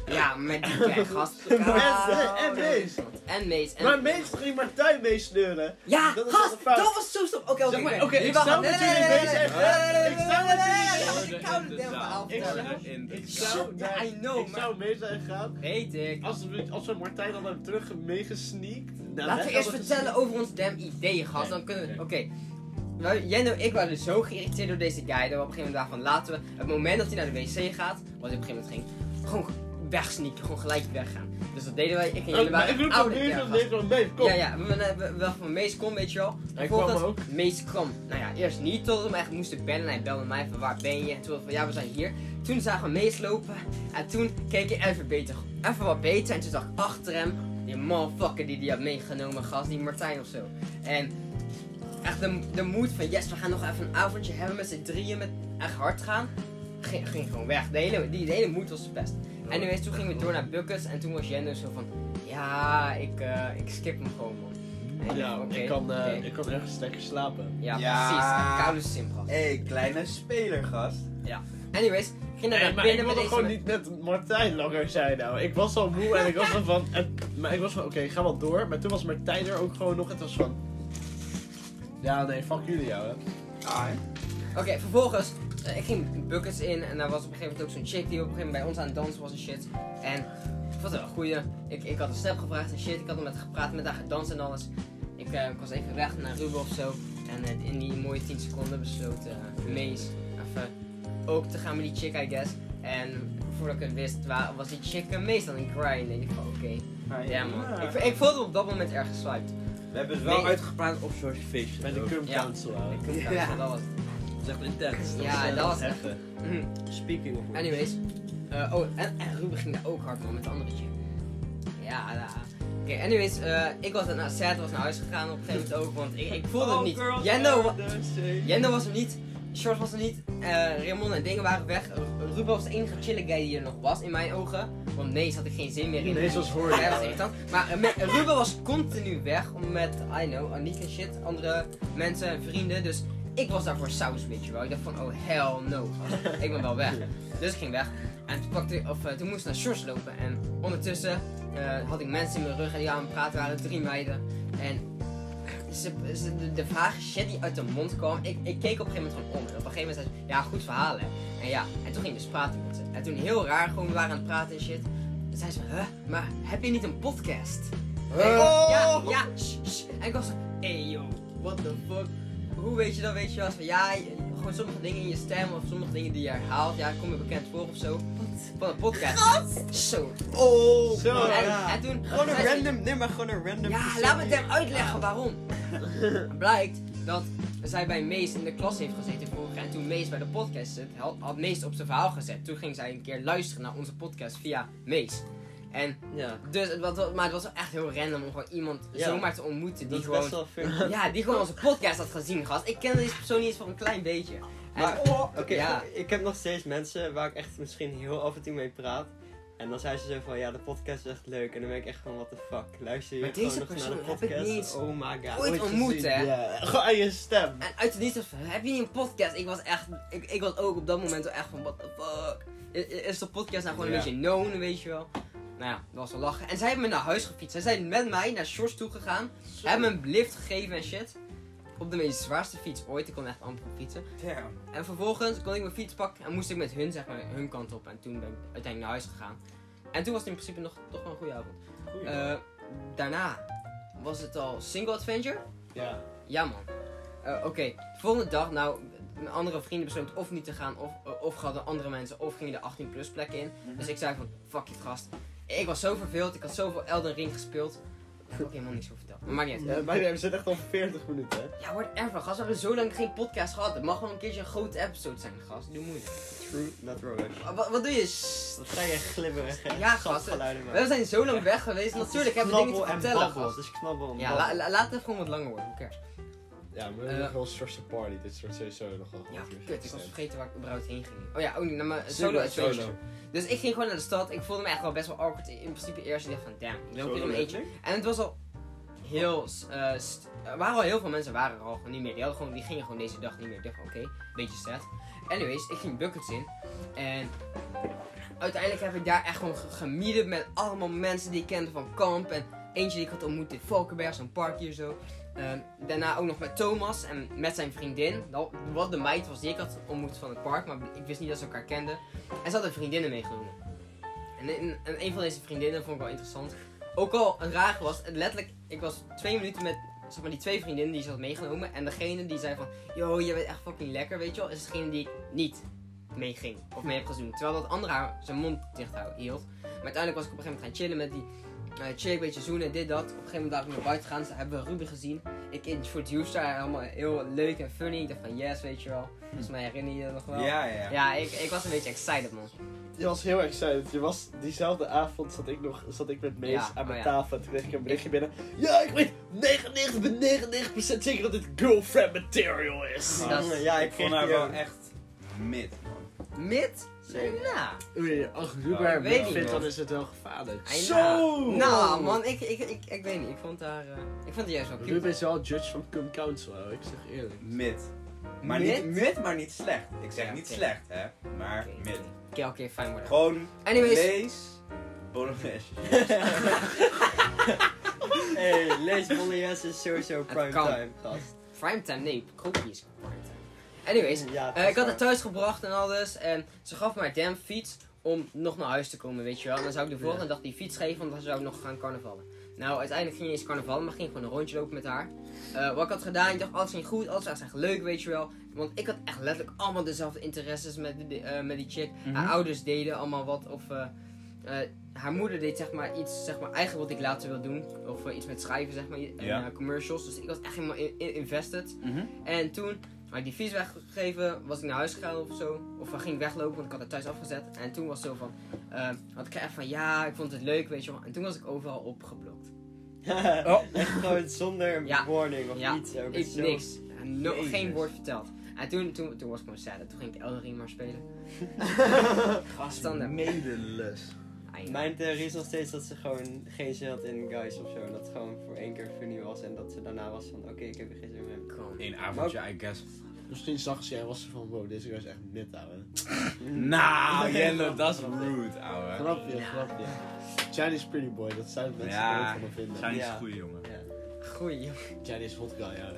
Speaker 2: Ja, met die kijk, gast.
Speaker 1: Mensen, en Mees.
Speaker 2: En Mees. En
Speaker 1: Maar Mees ging Martijn meesneuren.
Speaker 2: Ja,
Speaker 1: Dat is
Speaker 2: gast,
Speaker 1: wel een fout.
Speaker 2: dat was zo stom. Oké, oké.
Speaker 1: Zeg maar,
Speaker 2: oké,
Speaker 1: oké,
Speaker 2: nee,
Speaker 1: ik
Speaker 2: wacht,
Speaker 1: zou
Speaker 2: nee, nee,
Speaker 1: natuurlijk
Speaker 2: nee,
Speaker 1: deze
Speaker 2: nee,
Speaker 1: echt-
Speaker 2: nee, nee, nee,
Speaker 1: ik
Speaker 2: nee,
Speaker 1: zou
Speaker 2: nee,
Speaker 1: natuurlijk
Speaker 2: nee,
Speaker 1: deze-
Speaker 2: nee, nee, Ik zou het helemaal
Speaker 3: Inderdaad.
Speaker 2: vertellen.
Speaker 1: zou- Ik
Speaker 3: Inderdaad.
Speaker 1: zou
Speaker 2: Ja,
Speaker 1: naar-
Speaker 2: I know,
Speaker 1: Ik
Speaker 2: maar-
Speaker 1: zou mee zijn gegaan.
Speaker 2: Weet ik.
Speaker 1: Als we, als we Martijn dan hebben terug meegesneakt. nou,
Speaker 2: Laten we
Speaker 1: weg
Speaker 2: eerst
Speaker 1: hadden
Speaker 2: vertellen over ons damn idee, gast. Dan kunnen we... Oké. Nou, Jendo en ik waren zo geïrriteerd door deze guy. Dat we op een gegeven moment dachten van laten we... Het moment dat hij naar de wc gaat, wat hij op een gegeven moment ging... Gewoon wegsneaken. Gewoon gelijk weggaan. Dus dat deden wij. Ik en
Speaker 1: gezien.
Speaker 2: jullie
Speaker 1: Oh, maar
Speaker 2: waren
Speaker 1: ik roep
Speaker 2: echt
Speaker 1: hem
Speaker 2: oude
Speaker 1: nu
Speaker 2: terror,
Speaker 1: nog
Speaker 2: gast.
Speaker 1: deze van mee. Kom.
Speaker 2: Ja, ja, we, we, we, wel van Mees kom, weet je wel.
Speaker 1: Hij
Speaker 2: Vervolgens
Speaker 1: kwam ook.
Speaker 2: Mees kwam. Nou ja, eerst niet tot we hem echt moesten bellen. En hij belde mij van waar ben je? En toen was van ja, we zijn hier. Toen zagen we Mees lopen. En toen keek ik even beter. Even wat beter. En toen zag ik achter hem die motherfucker die die had meegenomen, gast. Die Martijn of zo. En echt de, de moed van yes, we gaan nog even een avondje hebben met z'n drieën. Met echt hard gaan. Ging, ging gewoon weg. De hele, die, de hele moed was verpest. En nu toen gingen we door naar Buckets. En toen was Jen dus zo van ja, ik, eh, ik skip hem gewoon man. En ik
Speaker 1: Ja,
Speaker 2: dacht, oké,
Speaker 1: ik, kan, eh,
Speaker 2: oké.
Speaker 1: ik kan ergens lekker slapen.
Speaker 2: Ja,
Speaker 3: Ja.
Speaker 2: precies. Koude simgast.
Speaker 3: Hé, hey, kleine spelergast.
Speaker 2: Anyways, ging
Speaker 1: Nee,
Speaker 2: naar
Speaker 1: maar ik
Speaker 2: binnen met
Speaker 1: wilde
Speaker 2: deze...
Speaker 1: gewoon niet net Martijn langer zijn nou. Ik was al moe en ik was al van... en- maar ik was van, oké, ga wel door. Maar toen was Martijn er ook gewoon nog. Het was van... Ja, nee, fuck jullie jou, hè.
Speaker 2: Oké, vervolgens, eh, ik ging buckets in en daar was op een gegeven moment ook zo'n chick die op een gegeven moment bij ons aan het dansen was en shit. En ik vond het wel een goeie. Ik, ik had een snap gevraagd en shit, ik had hem met haar gepraat, met haar gedanst en alles. Ik, eh, ik was even weg naar Ruben of zo. En eh, in die mooie 10 seconden besloot eh Mees even ook te gaan met die chick, I guess. En voordat ik het wist, wa- was die chick eh, Mees aan het grinden. En ik van, oké, ja man. Ik, ik voelde op dat moment erg geswiped.
Speaker 3: We hebben het wel
Speaker 2: Nee.
Speaker 3: uitgepraat op zo'n feestje.
Speaker 1: Bij de
Speaker 3: ook.
Speaker 1: cum
Speaker 2: Ja.
Speaker 1: council,
Speaker 2: Ik
Speaker 1: houden.
Speaker 2: kon
Speaker 3: Ja.
Speaker 2: ja. dat was...
Speaker 3: Dat is echt intens.
Speaker 2: Ja, dat was echt...
Speaker 1: Heftig.
Speaker 2: Mm.
Speaker 4: Speaking of which.
Speaker 2: Anyways, Eh, oh, en, en Ruben ging daar ook hard om met het andere chick. Ja, ja. Oké, anyways, eh, ik was daarna, Seth was naar huis gegaan op een gegeven moment ook, want ik, ik voelde
Speaker 3: Oh,
Speaker 2: het niet. Jendo, wa- Jendo was er niet, Short was er niet, eh, Raymond en dingen waren weg. Ru- Ruben was de enige chille guy die er nog was, in mijn ogen. Want nee, had ik geen zin meer in.
Speaker 1: Nee, zoals hoor
Speaker 2: Hij was
Speaker 1: je.
Speaker 2: irritant. Maar eh, me- Ruben was continu weg om met, I know, Aniek en shit, andere mensen en vrienden. Dus ik was daarvoor saus, weet je wel. Ik dacht van, oh hell no, gast. ik ben wel weg. Dus ik ging weg. En toen, pakte, of, eh, toen moest ik naar Shores lopen. En ondertussen eh, had ik mensen in mijn rug en die aan het praten waren, drie meiden. En ze, ze- de, de vage shit die uit de mond kwam, ik, ik keek op een gegeven moment gewoon om. En op een gegeven moment zei ze, ja, goed verhaal hè. En ja, en toen ging ik dus praten met ze. En toen heel raar, gewoon we waren aan het praten en shit. Toen zei ze, huh, maar heb je niet een podcast? En ik- Ja, ja, shh, shh. En ik was zo, hey yo, what the fuck. Hoe weet je dat, weet je wel? Zo van, Ja, je- gewoon sommige dingen in je stem of sommige dingen die je herhaalt. Ja, kom je bekend voor of zo. Van een podcast. Zo.
Speaker 4: Oh,
Speaker 2: En,
Speaker 4: ja.
Speaker 2: en toen...
Speaker 4: Gewoon
Speaker 2: zei
Speaker 4: een
Speaker 2: ze-
Speaker 4: random, nee maar gewoon een random
Speaker 2: Ja,
Speaker 4: persoon
Speaker 2: laat me het
Speaker 4: die-
Speaker 2: hem uitleggen waarom. (laughs) Blijkt dat zij bij Mees in de klas heeft gezeten vroeger. En toen Mees bij de podcast zit, had, had Mees op zijn verhaal gezet. Toen ging zij een keer luisteren naar onze podcast via Mees. En
Speaker 4: Ja,
Speaker 2: dus, het was, maar het was echt heel random om gewoon iemand
Speaker 4: Ja.
Speaker 2: zomaar te ontmoeten die
Speaker 4: dat is best
Speaker 2: gewoon,
Speaker 4: wel funny.
Speaker 2: ja, die gewoon onze podcast had gezien, gast. Ik kende deze persoon niet eens van een klein beetje. En-
Speaker 4: Maar, oké,
Speaker 2: Ja.
Speaker 4: ik heb nog steeds mensen waar ik echt misschien heel af en toe mee praat. En dan zijn ze zo van, ja, de podcast is echt leuk. En dan ben ik echt van, what the fuck. Luister je
Speaker 2: Maar
Speaker 4: gewoon
Speaker 2: deze
Speaker 4: nog naar de
Speaker 2: persoon heb
Speaker 4: podcast?
Speaker 2: ik niet eens
Speaker 4: oh my god.
Speaker 2: ooit ontmoet, hè?
Speaker 1: Ja, gewoon aan je stem.
Speaker 2: En uit de niets was van, heb je niet een podcast? Ik was echt, ik, ik was ook op dat moment wel echt van, what the fuck? I- i- Is de podcast nou gewoon een
Speaker 3: Ja.
Speaker 2: beetje known, weet je wel? Nou ja, dat was wel lachen. En zij hebben me naar huis gefietst. Zij zijn met mij naar Shores toe gegaan. Hebben me een lift gegeven en shit. Op de meest zwaarste fiets ooit. Ik kon echt amper fietsen.
Speaker 3: Damn.
Speaker 2: En vervolgens kon ik mijn fiets pakken en moest ik met hun, zeg maar, hun kant op. En toen ben ik uiteindelijk naar huis gegaan. En toen was het in principe nog toch wel een goede avond. Eh, daarna was het al Single Adventure.
Speaker 1: Ja.
Speaker 2: Ja man. Eh, Oké, de volgende dag, nou, mijn andere vrienden besloten of niet te gaan, of, eh, of hadden andere mensen, of gingen de 18 plus plekken in.
Speaker 4: Mhm.
Speaker 2: Dus ik zei van, fuck it gast. Ik was zo verveeld, ik had zoveel Elden Ring gespeeld. Daar heb ik ook helemaal niks over verteld. Maar maakt niet uit.
Speaker 1: Ja, maar we zitten echt al 40 minuten, hè?
Speaker 2: Ja, whatever, gast. We hebben zo lang geen podcast gehad. Het mag wel een keertje een grote episode zijn, gast. Doe moeilijk.
Speaker 4: True, not rubbish.
Speaker 2: Wa- Wat, wat doe je? Sst.
Speaker 4: Wat ga je glibberig en
Speaker 2: Ja,
Speaker 4: sapgeluiden maken.
Speaker 2: We zijn zo lang weg geweest. Natuurlijk hebben we dingen te
Speaker 4: Knabbel en
Speaker 2: vertellen,
Speaker 4: babbel,
Speaker 2: gast.
Speaker 4: Het is knabbel en
Speaker 2: Ja,
Speaker 4: babbel.
Speaker 2: la- la- laat het gewoon wat langer worden. Hoe cares?
Speaker 1: Ja, maar we
Speaker 2: Eh.
Speaker 1: hebben nog wel een soort van party. Dit wordt sowieso nog wel
Speaker 2: Ja,
Speaker 1: goed.
Speaker 2: kut. Ik was vergeten waar ik überhaupt heen ging. Oh ja, ook niet. Naar mijn solo
Speaker 1: Solo,
Speaker 2: adventure.
Speaker 1: solo.
Speaker 2: Dus ik ging gewoon naar de stad. Ik voelde me echt wel best wel awkward. In principe eerst. Ik dacht van, damn, ik loop hier in mijn eentje. En het was al heel... eh, st- er waren al heel veel mensen waren er al gewoon niet meer. Die, hadden gewoon, die gingen gewoon deze dag niet meer. Ik dacht van, oké, beetje sad. Anyways, ik ging buckets in. En uiteindelijk heb ik daar echt gewoon ge- gemieden met allemaal mensen die ik kende van kamp. En eentje die ik had ontmoet in Valkenberg, zo'n park hier zo. Ehm, daarna ook nog met Thomas en met zijn vriendin. Nou, Wat de meid was die ik had ontmoet van het park, maar ik wist niet dat ze elkaar kenden. En ze hadden vriendinnen meegenomen. En, en, en een van deze vriendinnen vond ik wel interessant. Ook al het raar was, het letterlijk, ik was twee minuten met zeg maar, die twee vriendinnen die ze had meegenomen. En degene die zei van, yo, je bent echt fucking lekker, weet je wel, is degene die ik niet meeging of mee heb gezien. Terwijl dat andere haar zijn mond dicht hou- hield. Maar uiteindelijk was ik op een gegeven moment gaan chillen met die eh chick, een beetje zoenen, dit, dat. Op een gegeven moment dacht ik naar buiten gaan, ze hebben we Ruben gezien. Ik introduced haar allemaal heel leuk en funny. Ik dacht van, yes, weet je wel. Volgens mij herinner je je dat nog wel.
Speaker 3: Ja, ja.
Speaker 2: Ja, ik, ik was een beetje excited, man.
Speaker 1: Je was heel excited. Je was diezelfde avond zat ik nog zat ik met Mees
Speaker 2: Ja,
Speaker 1: aan mijn
Speaker 2: oh ja.
Speaker 1: tafel. En toen kreeg ik een berichtje binnen. Ja, ik weet 99,99% zeker dat dit girlfriend material is.
Speaker 2: Ja. dat is-
Speaker 4: ja, ik
Speaker 3: Ik
Speaker 4: kreeg
Speaker 3: vond haar
Speaker 4: die
Speaker 3: wel
Speaker 4: ook.
Speaker 3: echt mid, man.
Speaker 2: Mid?
Speaker 4: Zeker.
Speaker 2: Nou.
Speaker 1: Oei, ach,
Speaker 3: Ja,
Speaker 1: Ruben,
Speaker 3: ik
Speaker 2: weet
Speaker 1: ik
Speaker 2: niet,
Speaker 1: vind
Speaker 3: man.
Speaker 1: dan is het wel gevaarlijk.
Speaker 2: Hij-
Speaker 1: Zo!
Speaker 2: Nou, man, ik, ik, ik, ik weet niet. Ik vond haar. eh, ik vond het juist wel
Speaker 1: Ruben
Speaker 2: cute.
Speaker 1: is wel judge van cum council, hoor, ik zeg eerlijk.
Speaker 3: Mid. Maar
Speaker 2: Mid?
Speaker 3: niet mid, maar niet slecht. Ik zeg
Speaker 2: Ja,
Speaker 3: niet
Speaker 2: oké.
Speaker 3: slecht, hè. Maar
Speaker 2: Oké,
Speaker 3: mid.
Speaker 2: oké. Oké, oké, fijn worden.
Speaker 3: Gewoon
Speaker 2: Anyways.
Speaker 3: lees Bolognese.
Speaker 4: Hey, lees Bollies is sowieso prime
Speaker 2: kan.
Speaker 4: time, gast.
Speaker 2: Primetime, nee, Kroki is primetime. Anyways,
Speaker 4: Ja, het
Speaker 2: eh,
Speaker 4: is
Speaker 2: ik had
Speaker 4: waar.
Speaker 2: haar thuis gebracht en alles. En ze gaf mij damn fiets om nog naar huis te komen, weet je wel. En dan zou ik de volgende dag die fiets geven, want dan zou ik nog gaan carnavallen. Nou, uiteindelijk ging je eens carnavallen, maar ging gewoon een rondje lopen met haar. Eh, wat ik had gedaan, ik dacht alles ging goed, alles was echt leuk, weet je wel. Want ik had echt letterlijk allemaal dezelfde interesses met, die- die- eh, met die chick.
Speaker 3: Mhm. Ah,
Speaker 2: Haar ouders deden allemaal wat, of eh, eh, haar moeder deed zeg maar iets, zeg maar eigenlijk wat ik later wil doen. Of eh, iets met schrijven, zeg maar, en,
Speaker 3: Ja.
Speaker 2: mhm.
Speaker 3: ah.
Speaker 2: eh, commercials. Dus ik was echt helemaal in- in- invested. En toen, Maar die fiets weggegeven, was ik naar huis gegaan of zo. Of eh, ging weglopen, want ik had het thuis afgezet. En toen was het zo van, ehm, had ik echt van ja, ik vond het leuk, weet je wel. En toen was ik overal opgeblokt.
Speaker 4: (laughs) Echt gewoon zonder een
Speaker 2: Ja.
Speaker 4: warning of
Speaker 2: Ja.
Speaker 4: iets. Ook. Het
Speaker 2: Ik
Speaker 4: is zo-
Speaker 2: niks. No-
Speaker 4: Jezus.
Speaker 2: geen woord verteld. En toen, toen, toen was ik gewoon sad. En Toen ging ik Elden Ring maar spelen.
Speaker 3: Gast,
Speaker 2: Standaard.
Speaker 3: medelus.
Speaker 2: Ai,
Speaker 4: Mijn theorie is nog steeds dat ze gewoon geen zin had in guys of zo. En dat het gewoon voor één keer funny was. En dat ze daarna was van oké, ik heb er geen zin meer. in.
Speaker 2: kom.
Speaker 3: Eén avondje, I
Speaker 2: (laughs)
Speaker 3: guess.
Speaker 1: Misschien zag ze en was ze van, wow, deze guy is echt net ouwe.
Speaker 3: Nou, Jelle, dat is rude, ouwe.
Speaker 1: Grapje, grapje. Chinese pretty boy, dat zouden mensen er
Speaker 3: Ja,
Speaker 1: ook van vinden.
Speaker 3: Zijn is
Speaker 4: Ja.
Speaker 3: goed, jongen.
Speaker 4: Ja.
Speaker 2: Goeie. jongen.
Speaker 1: Chinese hot guy, ja.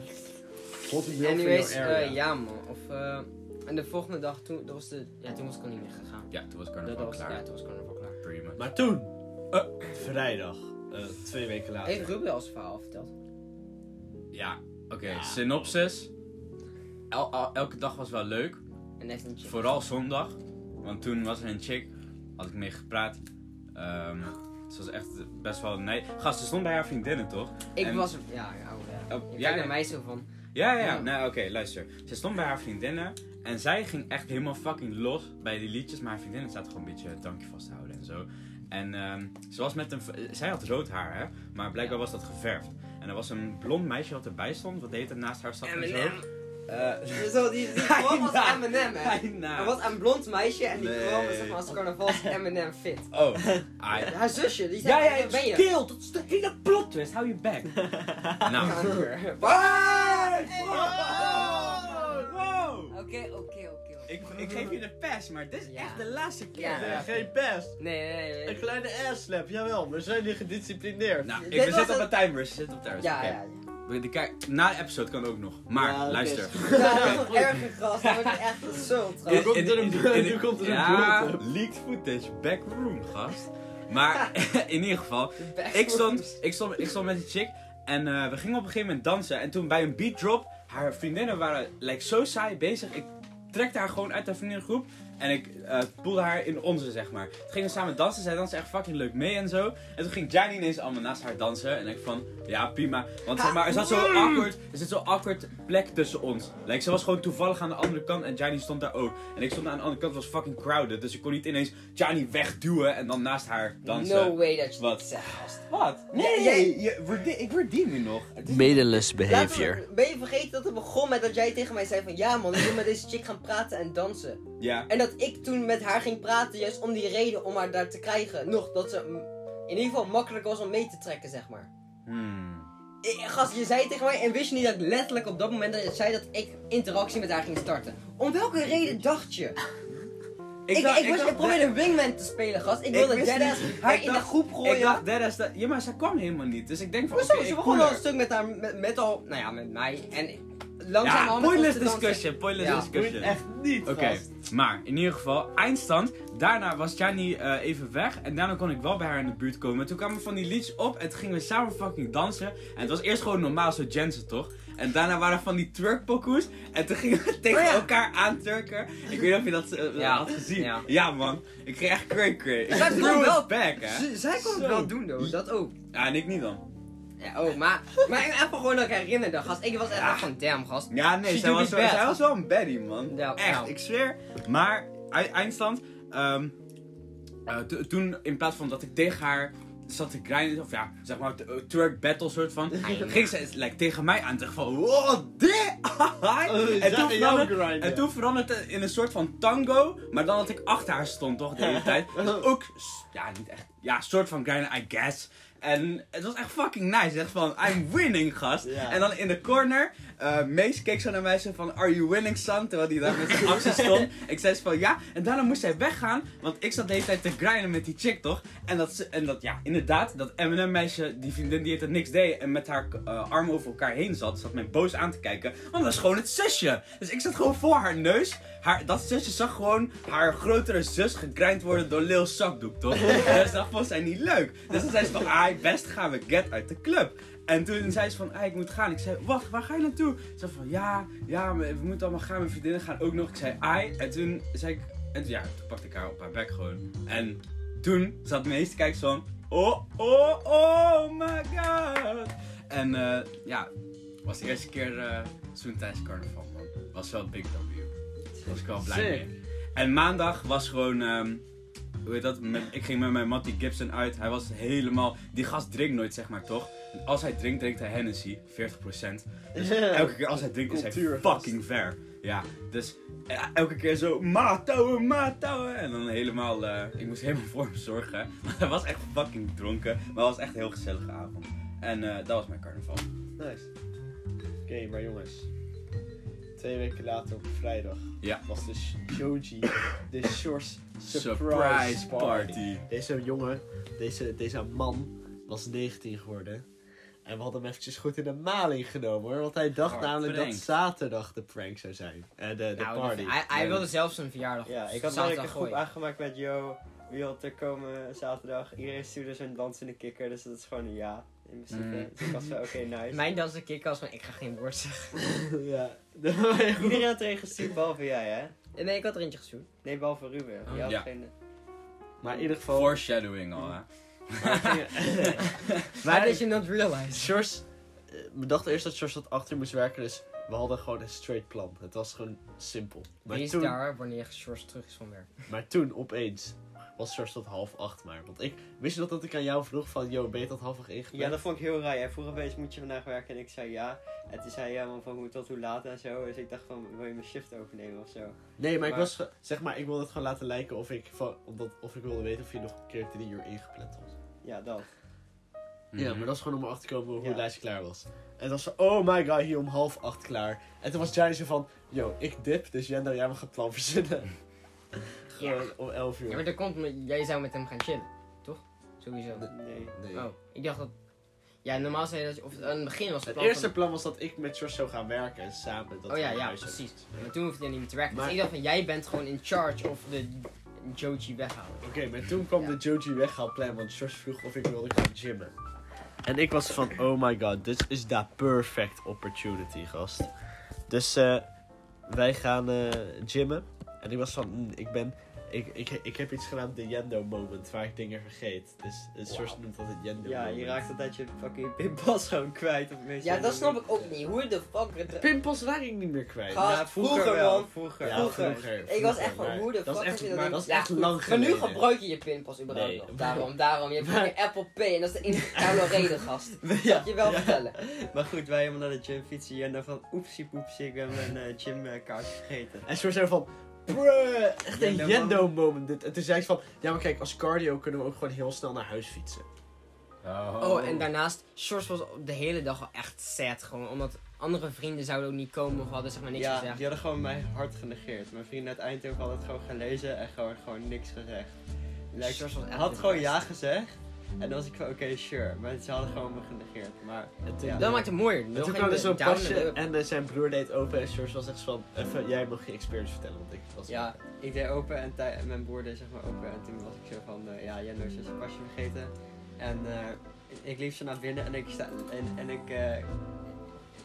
Speaker 1: Hot girl
Speaker 2: Anyways,
Speaker 1: from your area.
Speaker 2: eh, ja man. Of, eh, en de volgende dag, toen, dat was de, ja, toen was ik al niet meer gegaan.
Speaker 3: Ja, toen was
Speaker 2: Dat, dat
Speaker 3: carnaval
Speaker 2: was, ja,
Speaker 3: klaar.
Speaker 2: toen was ik gewoon wel klaar.
Speaker 3: Pretty much.
Speaker 1: Maar toen, eh, vrijdag, eh, twee weken later.
Speaker 2: Heeft Ruben al zijn verhaal verteld?
Speaker 3: Ja, oké.
Speaker 1: Ja.
Speaker 3: Synopsis. El- el- elke dag was wel leuk.
Speaker 2: En heeft niet
Speaker 3: Vooral zondag. Want toen was er een chick. Had ik mee gepraat. Ehm, ze was echt best wel... Nee. Gast, ze stond bij haar vriendinnen, toch?
Speaker 2: Ik
Speaker 3: En-
Speaker 2: was, ja, ja, oh, ja.
Speaker 3: Oh,
Speaker 2: Je
Speaker 3: ja,
Speaker 2: kijkt
Speaker 3: ja.
Speaker 2: naar mij zo van,
Speaker 3: Ja, ja,
Speaker 2: Ja.
Speaker 3: ja. Nou, oké, luister. Ze stond bij haar vriendinnen en zij ging echt helemaal fucking los bij die liedjes. Maar haar vriendinnen zaten gewoon een beetje het drankje vast te houden en zo. En ehm, ze was met een... v- eh, Zij had rood haar, hè? Maar blijkbaar was dat geverfd. En er was een blond meisje wat erbij stond, wat de hele tijd naast haar zat en zo.
Speaker 2: M&M.
Speaker 3: Eh,
Speaker 2: Zo,
Speaker 3: (laughs)
Speaker 2: die, die kwam als M&M, hè.
Speaker 3: bijna.
Speaker 2: Er was een blond meisje en die
Speaker 3: Nee.
Speaker 2: kwam zeg maar,
Speaker 3: (laughs)
Speaker 2: als carnavals M&M fit. (laughs)
Speaker 3: Oh, ai.
Speaker 2: Haar zusje, die zei, "Waar ben
Speaker 3: (laughs)
Speaker 2: je?
Speaker 3: keel, dat is de hele plot twist, hou je back. nou. (laughs) Wow!
Speaker 2: Oké, oké, oké.
Speaker 3: Ik, ik geef je de pers, maar dit is
Speaker 2: Ja.
Speaker 3: echt de laatste keer.
Speaker 2: Ja.
Speaker 1: Eh, geen pest.
Speaker 2: Nee, nee, nee.
Speaker 1: Een
Speaker 2: nee.
Speaker 1: kleine ass slap, jawel. We zijn nu gedisciplineerd.
Speaker 3: Nou, ik,
Speaker 2: Dit
Speaker 3: we
Speaker 2: was
Speaker 3: zitten op
Speaker 2: een-
Speaker 3: een timer, ze zitten op timers.
Speaker 2: Ja,
Speaker 3: Oké.
Speaker 2: ja, ja.
Speaker 3: We- de kijk, na de episode kan ook nog. Maar,
Speaker 1: Ja, dat
Speaker 3: luister.
Speaker 1: is-
Speaker 2: (laughs) Ja,
Speaker 3: (laughs)
Speaker 2: dat is Oh, een erge gast, dat wordt echt zo
Speaker 1: Nu
Speaker 2: trouwens.
Speaker 1: komt er een beeld, nu komt er een
Speaker 3: Ja,
Speaker 1: beeld op.
Speaker 3: leaked footage, backroom, gast. Maar (laughs) in ieder geval,
Speaker 2: (laughs)
Speaker 3: ik stond, ik, stond, ik stond met die chick en eh, we gingen op een gegeven moment dansen. En toen bij een beat drop, haar vriendinnen waren like, zo saai bezig. Ik trekte haar gewoon uit haar vriendinnengroep en ik eh poelde haar in onze, zeg maar. Toen gingen we samen dansen, zij danste echt fucking leuk mee en zo. En toen ging Jani ineens allemaal naast haar dansen. En ik van, ja prima. Want zeg maar, er zat zo'n awkward, er zit zo'n awkward plek tussen ons. Like, ze was gewoon toevallig aan de andere kant en Jani stond daar ook. En ik stond aan de andere kant, was fucking crowded. Dus ik kon niet ineens Jani wegduwen en dan naast haar dansen.
Speaker 2: No way dat je
Speaker 3: Wat?
Speaker 2: dat zegt, gast.
Speaker 3: Wat?
Speaker 2: Nee,
Speaker 3: je verdien- ik verdien je nog.
Speaker 1: Medeless
Speaker 2: Laten we- Ben je vergeten dat het begon met dat jij tegen mij zei van ja man, ik wil met deze chick gaan praten en dansen.
Speaker 3: Ja.
Speaker 2: En dat ik toen met haar ging praten, juist om die reden om haar daar te krijgen. Nog dat ze mm, in ieder geval makkelijk was om mee te trekken, zeg maar.
Speaker 3: Hmm.
Speaker 2: Ik- Gast, je zei tegen mij en wist je niet dat ik letterlijk op dat moment dat je zei dat ik interactie met haar ging starten. Om welke reden dacht je? Ik, ik,
Speaker 3: dacht-
Speaker 2: was,
Speaker 3: dacht-
Speaker 2: ik probeerde een wingman te spelen, gast. Ik wilde
Speaker 3: wist
Speaker 2: deadass
Speaker 3: niet-
Speaker 2: haar
Speaker 3: ik
Speaker 2: in de
Speaker 3: dacht-
Speaker 2: groep gooien.
Speaker 3: Ik dacht, dat is dat... Ja, maar zij kwam helemaal niet. Dus ik denk van, oké,
Speaker 2: Hoezo?
Speaker 3: ik
Speaker 2: ze
Speaker 3: voel
Speaker 2: begon al
Speaker 3: haar.
Speaker 2: een stuk met haar, met, met al, nou ja, met mij. En langzaam
Speaker 3: Ja,
Speaker 2: al
Speaker 3: pointless discussion, pointless
Speaker 2: Ja,
Speaker 3: discussion.
Speaker 1: niet,
Speaker 3: Oké, maar in ieder geval, eindstand. Daarna was Jani eh, even weg. En daarna kon ik wel bij haar in de buurt komen. Toen kwamen van die liedjes op en toen gingen we samen fucking dansen. En het was eerst gewoon normaal, zo Jensen toch? En daarna waren van die twerkpokoes. En toen gingen we (laughs) tegen
Speaker 2: Oh ja.
Speaker 3: elkaar aantwerken. Ik weet niet of je dat eh,
Speaker 2: Ja.
Speaker 3: had gezien.
Speaker 2: Ja.
Speaker 3: Ja. man, ik kreeg echt cray cray. Ik
Speaker 2: Zij kon
Speaker 3: threw it
Speaker 2: wel-
Speaker 3: back, hè?
Speaker 2: Zij kon het
Speaker 1: Zo.
Speaker 2: wel doen, though. Dat ook.
Speaker 3: Ja, en ik niet dan.
Speaker 2: Ja, ook. Maar, maar ik even gewoon dat ik herinnerde, gast. Ik was echt van damn, gast.
Speaker 3: Ja, nee,
Speaker 2: She
Speaker 3: zij
Speaker 2: do
Speaker 3: was,
Speaker 2: be
Speaker 3: wel-
Speaker 2: bad.
Speaker 3: zij was wel een baddie, man.
Speaker 2: Ja,
Speaker 3: Echt,
Speaker 2: nou.
Speaker 3: ik zweer. Maar, ei- eindstand, ehm, eh, to- toen in plaats van dat ik tegen haar zat te grinden, of ja, zeg maar, t- eh, twerk battle soort
Speaker 2: (laughs)
Speaker 3: van, ging ze like, tegen mij aan tegen van, wow, dit, (laughs)
Speaker 2: Oh,
Speaker 1: Oh,
Speaker 3: en, toen veranderde- en toen veranderde het in een soort van tango, maar dan dat ik achter haar stond, toch, de
Speaker 2: (laughs)
Speaker 3: hele tijd.
Speaker 2: Oh.
Speaker 3: Dus ook, s- ja, niet echt, ja, soort van grinden, I guess. En het was echt fucking nice, echt van, I'm winning, gast.
Speaker 1: Ja.
Speaker 3: En dan in de corner, eh Mees keek zo naar mij zo van, are you winning, son? Terwijl die daar met zijn actie stond. Ik zei zo van, ja. En daarna moest zij weggaan, want ik zat de hele tijd te grinden met die chick, toch? En dat, ze- en dat ja, inderdaad, dat M&M meisje, die vriendin die het er niks deed en met haar eh, armen over elkaar heen zat, zat mij boos aan te kijken. Want dat was gewoon het zusje. Dus ik zat gewoon voor haar neus. Haar, dat zusje zag gewoon haar grotere zus gegrind worden door Lil Zakdoek, toch? dus dat vond zij niet leuk. Dus dan zei ze van, ah, best gaan we get uit de club. En toen zei ze van, ah, ik moet gaan. Ik zei, wacht, waar ga je naartoe? Ze zei van, ja, ja, maar we moeten allemaal gaan. Mijn vriendinnen gaan ook nog. Ik zei, ai. En toen zei ik, en toen, ja, toen pakte ik haar op haar bek gewoon. En toen zat de meeste kijkers van, oh, oh, oh my god. En eh, ja, was de eerste keer eh zo'n tijdens carnaval, man. Was was wel een big W. Daar was ik wel blij mee. En maandag was gewoon... ehm, hoe heet dat? Met, ik ging met mijn Matty Gibson uit. Hij was helemaal... Die gast drinkt nooit, zeg maar, toch? En als hij drinkt, drinkt hij Hennessy. 40%. Elke keer als hij drinkt is hij
Speaker 1: Cultuurgast.
Speaker 3: fucking ver. Ja, dus eh, elke keer zo maatouwen, maatouwen. En dan helemaal, eh, ik moest helemaal (laughs) voor hem zorgen. Maar hij was echt fucking dronken. Maar het was echt een heel gezellige avond. En eh, dat was mijn carnaval.
Speaker 1: Nice. Oké, maar jongens. Twee weken later op vrijdag
Speaker 3: Ja.
Speaker 1: was de Sh- Shoji de Shores Surprise, party. Deze jongen, deze, deze man, was 19 geworden. En we hadden hem eventjes goed in de maling genomen hoor. Want hij dacht
Speaker 2: Oh,
Speaker 1: namelijk
Speaker 3: prank.
Speaker 1: dat zaterdag de prank zou zijn. Eh, de, de
Speaker 2: Nou,
Speaker 1: party.
Speaker 2: Hij, hij wilde zelfs zijn verjaardag.
Speaker 4: (laughs) Ja,
Speaker 2: op
Speaker 4: ik had
Speaker 2: zaterdag
Speaker 4: eigenlijk een groep
Speaker 2: gooien.
Speaker 4: aangemaakt met yo, wie wil er komen zaterdag? Iedereen stuurde zo'n dansende kikker, dus dat is gewoon een ja. In principe.
Speaker 3: Mm.
Speaker 4: Dus ik was zo, oké,
Speaker 3: (laughs)
Speaker 4: nice.
Speaker 2: Mijn dansen kick was van, ik ga geen woord zeggen.
Speaker 1: (laughs) ja.
Speaker 4: Iedereen had erin gestuurd, behalve jij, hè?
Speaker 2: (laughs) Nee, ik had er eentje gestuurd.
Speaker 4: Nee, behalve Ruben. Jij had
Speaker 3: Oh, Ja.
Speaker 4: geen...
Speaker 1: maar in ieder geval.
Speaker 3: Foreshadowing al, hè. (laughs)
Speaker 1: (laughs)
Speaker 2: Why
Speaker 1: Wij-
Speaker 2: did you not realize?
Speaker 1: Sjors, eh, we dachten eerst dat Sjors dat achter moest werken, dus we hadden gewoon een straight plan. Het was gewoon simpel. Maar,
Speaker 2: Wie is
Speaker 1: toen,
Speaker 2: daar wanneer George terug is van werk?
Speaker 1: maar toen, opeens, was Sjors tot half acht maar. Want ik, wist je dat, dat ik aan jou vroeg van, yo, ben je tot half acht ingepland?
Speaker 4: Ja, dat vond ik heel raar. Hij vroeg opeens, moet je vandaag werken? En ik zei ja. En toen zei hij, ja, man, van hoe tot hoe laat en zo. Dus ik dacht van, wil je mijn shift overnemen of zo?
Speaker 1: Nee, maar,
Speaker 4: maar-
Speaker 1: ik was, ge- zeg maar, ik wilde het gewoon laten lijken of ik, van, omdat, of ik wilde weten of je nog een keer drie uur ingepland was.
Speaker 4: Ja, dat.
Speaker 2: Mhm.
Speaker 1: Ja,
Speaker 3: Mhm.
Speaker 1: maar dat is gewoon om achter te komen hoe
Speaker 4: Ja.
Speaker 1: het lijstje klaar was. En dan zo, oh my god, hier om half acht klaar. En toen was Johnny zo van, yo, ik dip, dus Jendo, jij mag het plan verzinnen.
Speaker 2: (laughs)
Speaker 1: Gewoon om elf uur.
Speaker 2: Ja, maar dat komt omdat jij zou met hem gaan chillen, toch? Sowieso.
Speaker 4: Nee.
Speaker 1: Nee.
Speaker 2: Oh, ik dacht dat... Ja, normaal zei je dat je... Of aan het begin was het
Speaker 1: Het
Speaker 2: plan
Speaker 1: eerste
Speaker 2: van-
Speaker 1: plan was dat ik met George zou gaan werken en samen. Dat
Speaker 2: Oh ja,
Speaker 1: we
Speaker 2: ja,
Speaker 1: huis zouden-
Speaker 2: precies. Maar toen hoefde je niet meer te werken.
Speaker 1: Maar-
Speaker 2: Dus ik dacht van, jij bent gewoon in charge of de Joji weghalen.
Speaker 1: Oké, maar toen kwam
Speaker 2: Ja.
Speaker 1: de Joji weghaalplan, want George vroeg of ik wilde gaan gymmen. En ik was van, oh my god, dit is de perfect opportunity, gast. Dus eh, wij gaan eh, gymmen. En ik was van, mm, ik ben... Ik, ik, ik heb iets genaamd de Yendo moment, waar ik dingen vergeet. Dus eh, George noemt dat het Yendo
Speaker 4: Ja,
Speaker 1: moment.
Speaker 4: je raakt altijd je fucking (laughs) pinpas gewoon kwijt. Op mensen.
Speaker 2: Ja, dat snap ik ook niet. Hoe de fuck... Het...
Speaker 1: Pimpels waren ik niet meer kwijt.
Speaker 2: Ga-
Speaker 4: Ja, vroeger
Speaker 2: Ah, Vroeger,
Speaker 4: wel.
Speaker 2: man.
Speaker 4: Vroeger.
Speaker 1: Ja,
Speaker 2: vroeger. Ik was echt van,
Speaker 1: maar
Speaker 2: hoe de
Speaker 1: dat
Speaker 2: fuck
Speaker 1: is echt-
Speaker 2: heb je dat
Speaker 1: maar
Speaker 2: niet-
Speaker 1: dat is
Speaker 2: Ja,
Speaker 1: echt
Speaker 2: goed,
Speaker 1: lang
Speaker 2: Maar nu
Speaker 1: geleden. (laughs)
Speaker 2: gebruik je je pinpas überhaupt
Speaker 1: Nee.
Speaker 2: nog. Daarom, daarom. Je hebt fucking Apple Pay en dat is de enige koude reden, gast.
Speaker 4: Ja.
Speaker 2: Moet je wel vertellen.
Speaker 4: Maar goed, wij helemaal naar de gym fietsen en dan van oepsie poepsie, ik ben mijn eh, gymkaart vergeten.
Speaker 1: En George zei van, bruh, echt een
Speaker 4: Yendo
Speaker 1: Yendo moment. dit. En toen zei ik van, ja maar kijk, als cardio kunnen we ook gewoon heel snel naar huis fietsen.
Speaker 2: Oh, en daarnaast, Sjors was de hele dag al echt sad. Gewoon omdat andere vrienden zouden ook niet komen of hadden zeg maar niks
Speaker 4: ja,
Speaker 2: gezegd.
Speaker 4: die hadden gewoon mijn hart genegeerd. Mijn vrienden uit Eindhoven hadden het gewoon gelezen en gewoon, gewoon niks gezegd. Like,
Speaker 2: Sjors was echt
Speaker 4: had
Speaker 2: de
Speaker 4: gewoon
Speaker 2: best.
Speaker 4: ja gezegd en dan was ik van oké, sure. Maar ze hadden gewoon me genegeerd. Maar
Speaker 1: En toen,
Speaker 4: Ja.
Speaker 2: Dat maakt het mooier.
Speaker 1: en
Speaker 2: Nog
Speaker 1: toen
Speaker 2: geen
Speaker 1: kwam er zo'n
Speaker 2: down en
Speaker 1: pasje
Speaker 2: up.
Speaker 1: en eh, zijn broer deed open en George was echt van, even, jij mag je experience vertellen, want ik was...
Speaker 4: ja, ik deed open en tij- en mijn broer deed zeg maar open. En toen was ik zo van, eh, ja, Jendo is zijn pasje vergeten. En eh, ik- ik liep zo naar binnen en ik sta, en, en ik, eh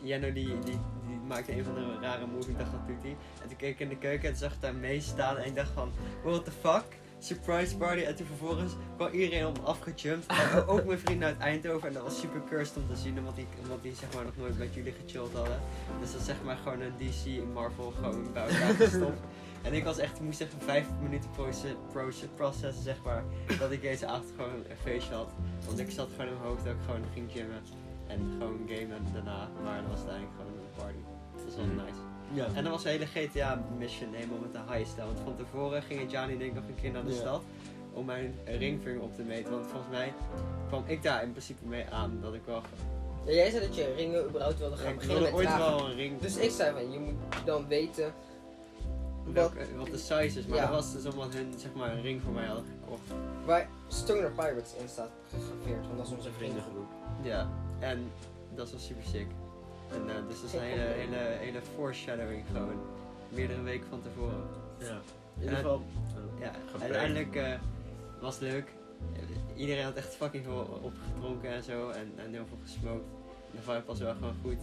Speaker 4: Jendo die, die, die maakte een van de rare move, ik dacht wat doet hij? En toen keek ik in de keuken en zag ik daar mee staan en ik dacht van, what the fuck? Surprise party en toen vervolgens kwam iedereen om afgejumpt. En ook mijn vrienden uit Eindhoven en dat was super cursed om te zien omdat die, omdat die zeg maar nog nooit met jullie gechilled hadden. Dus dat is zeg maar gewoon een DC en Marvel gewoon bij elkaar gestopt. En ik was echt, moest echt vijf minuten proce- proce- processen, zeg maar, dat ik deze avond gewoon een feestje had. Want ik zat gewoon in mijn hoofd dat ik gewoon ging gymmen en gewoon gamen daarna. Maar dat was uiteindelijk gewoon een party. Dat was wel
Speaker 3: Mhm.
Speaker 4: nice.
Speaker 1: Ja.
Speaker 4: En dan was de hele GTA mission helemaal met de highest. Want van tevoren gingen Johnny en ik nog een keer naar de
Speaker 1: Ja.
Speaker 4: stad om mijn ringvinger op te meten. Want volgens mij kwam ik daar in principe mee aan dat ik wel...
Speaker 2: Ja, jij zei dat je ringen überhaupt wilde gaan
Speaker 4: ik
Speaker 2: beginnen
Speaker 4: wilde
Speaker 2: met
Speaker 4: ooit
Speaker 2: dragen.
Speaker 4: wel een ring...
Speaker 2: Dus ik zei van, je moet dan weten... Wat,
Speaker 4: Welke, wat de size is, maar
Speaker 2: Ja.
Speaker 4: dat was dus omdat hun zeg maar, een ring voor mij hadden gekocht.
Speaker 2: waar Stoner Pirates in staat gegraveerd, want dat is onze vriendengroep.
Speaker 4: Ja, en dat was super sick. En eh, dus dat is een hele, hele, hele foreshadowing gewoon. Meerdere weken van tevoren.
Speaker 1: Ja. In ieder geval... eh,
Speaker 4: Ja,
Speaker 1: Gebeurd.
Speaker 4: uiteindelijk eh, was het leuk. Iedereen had echt fucking veel opgedronken en zo. En, en heel veel gesmokt. En de vibe was wel gewoon goed.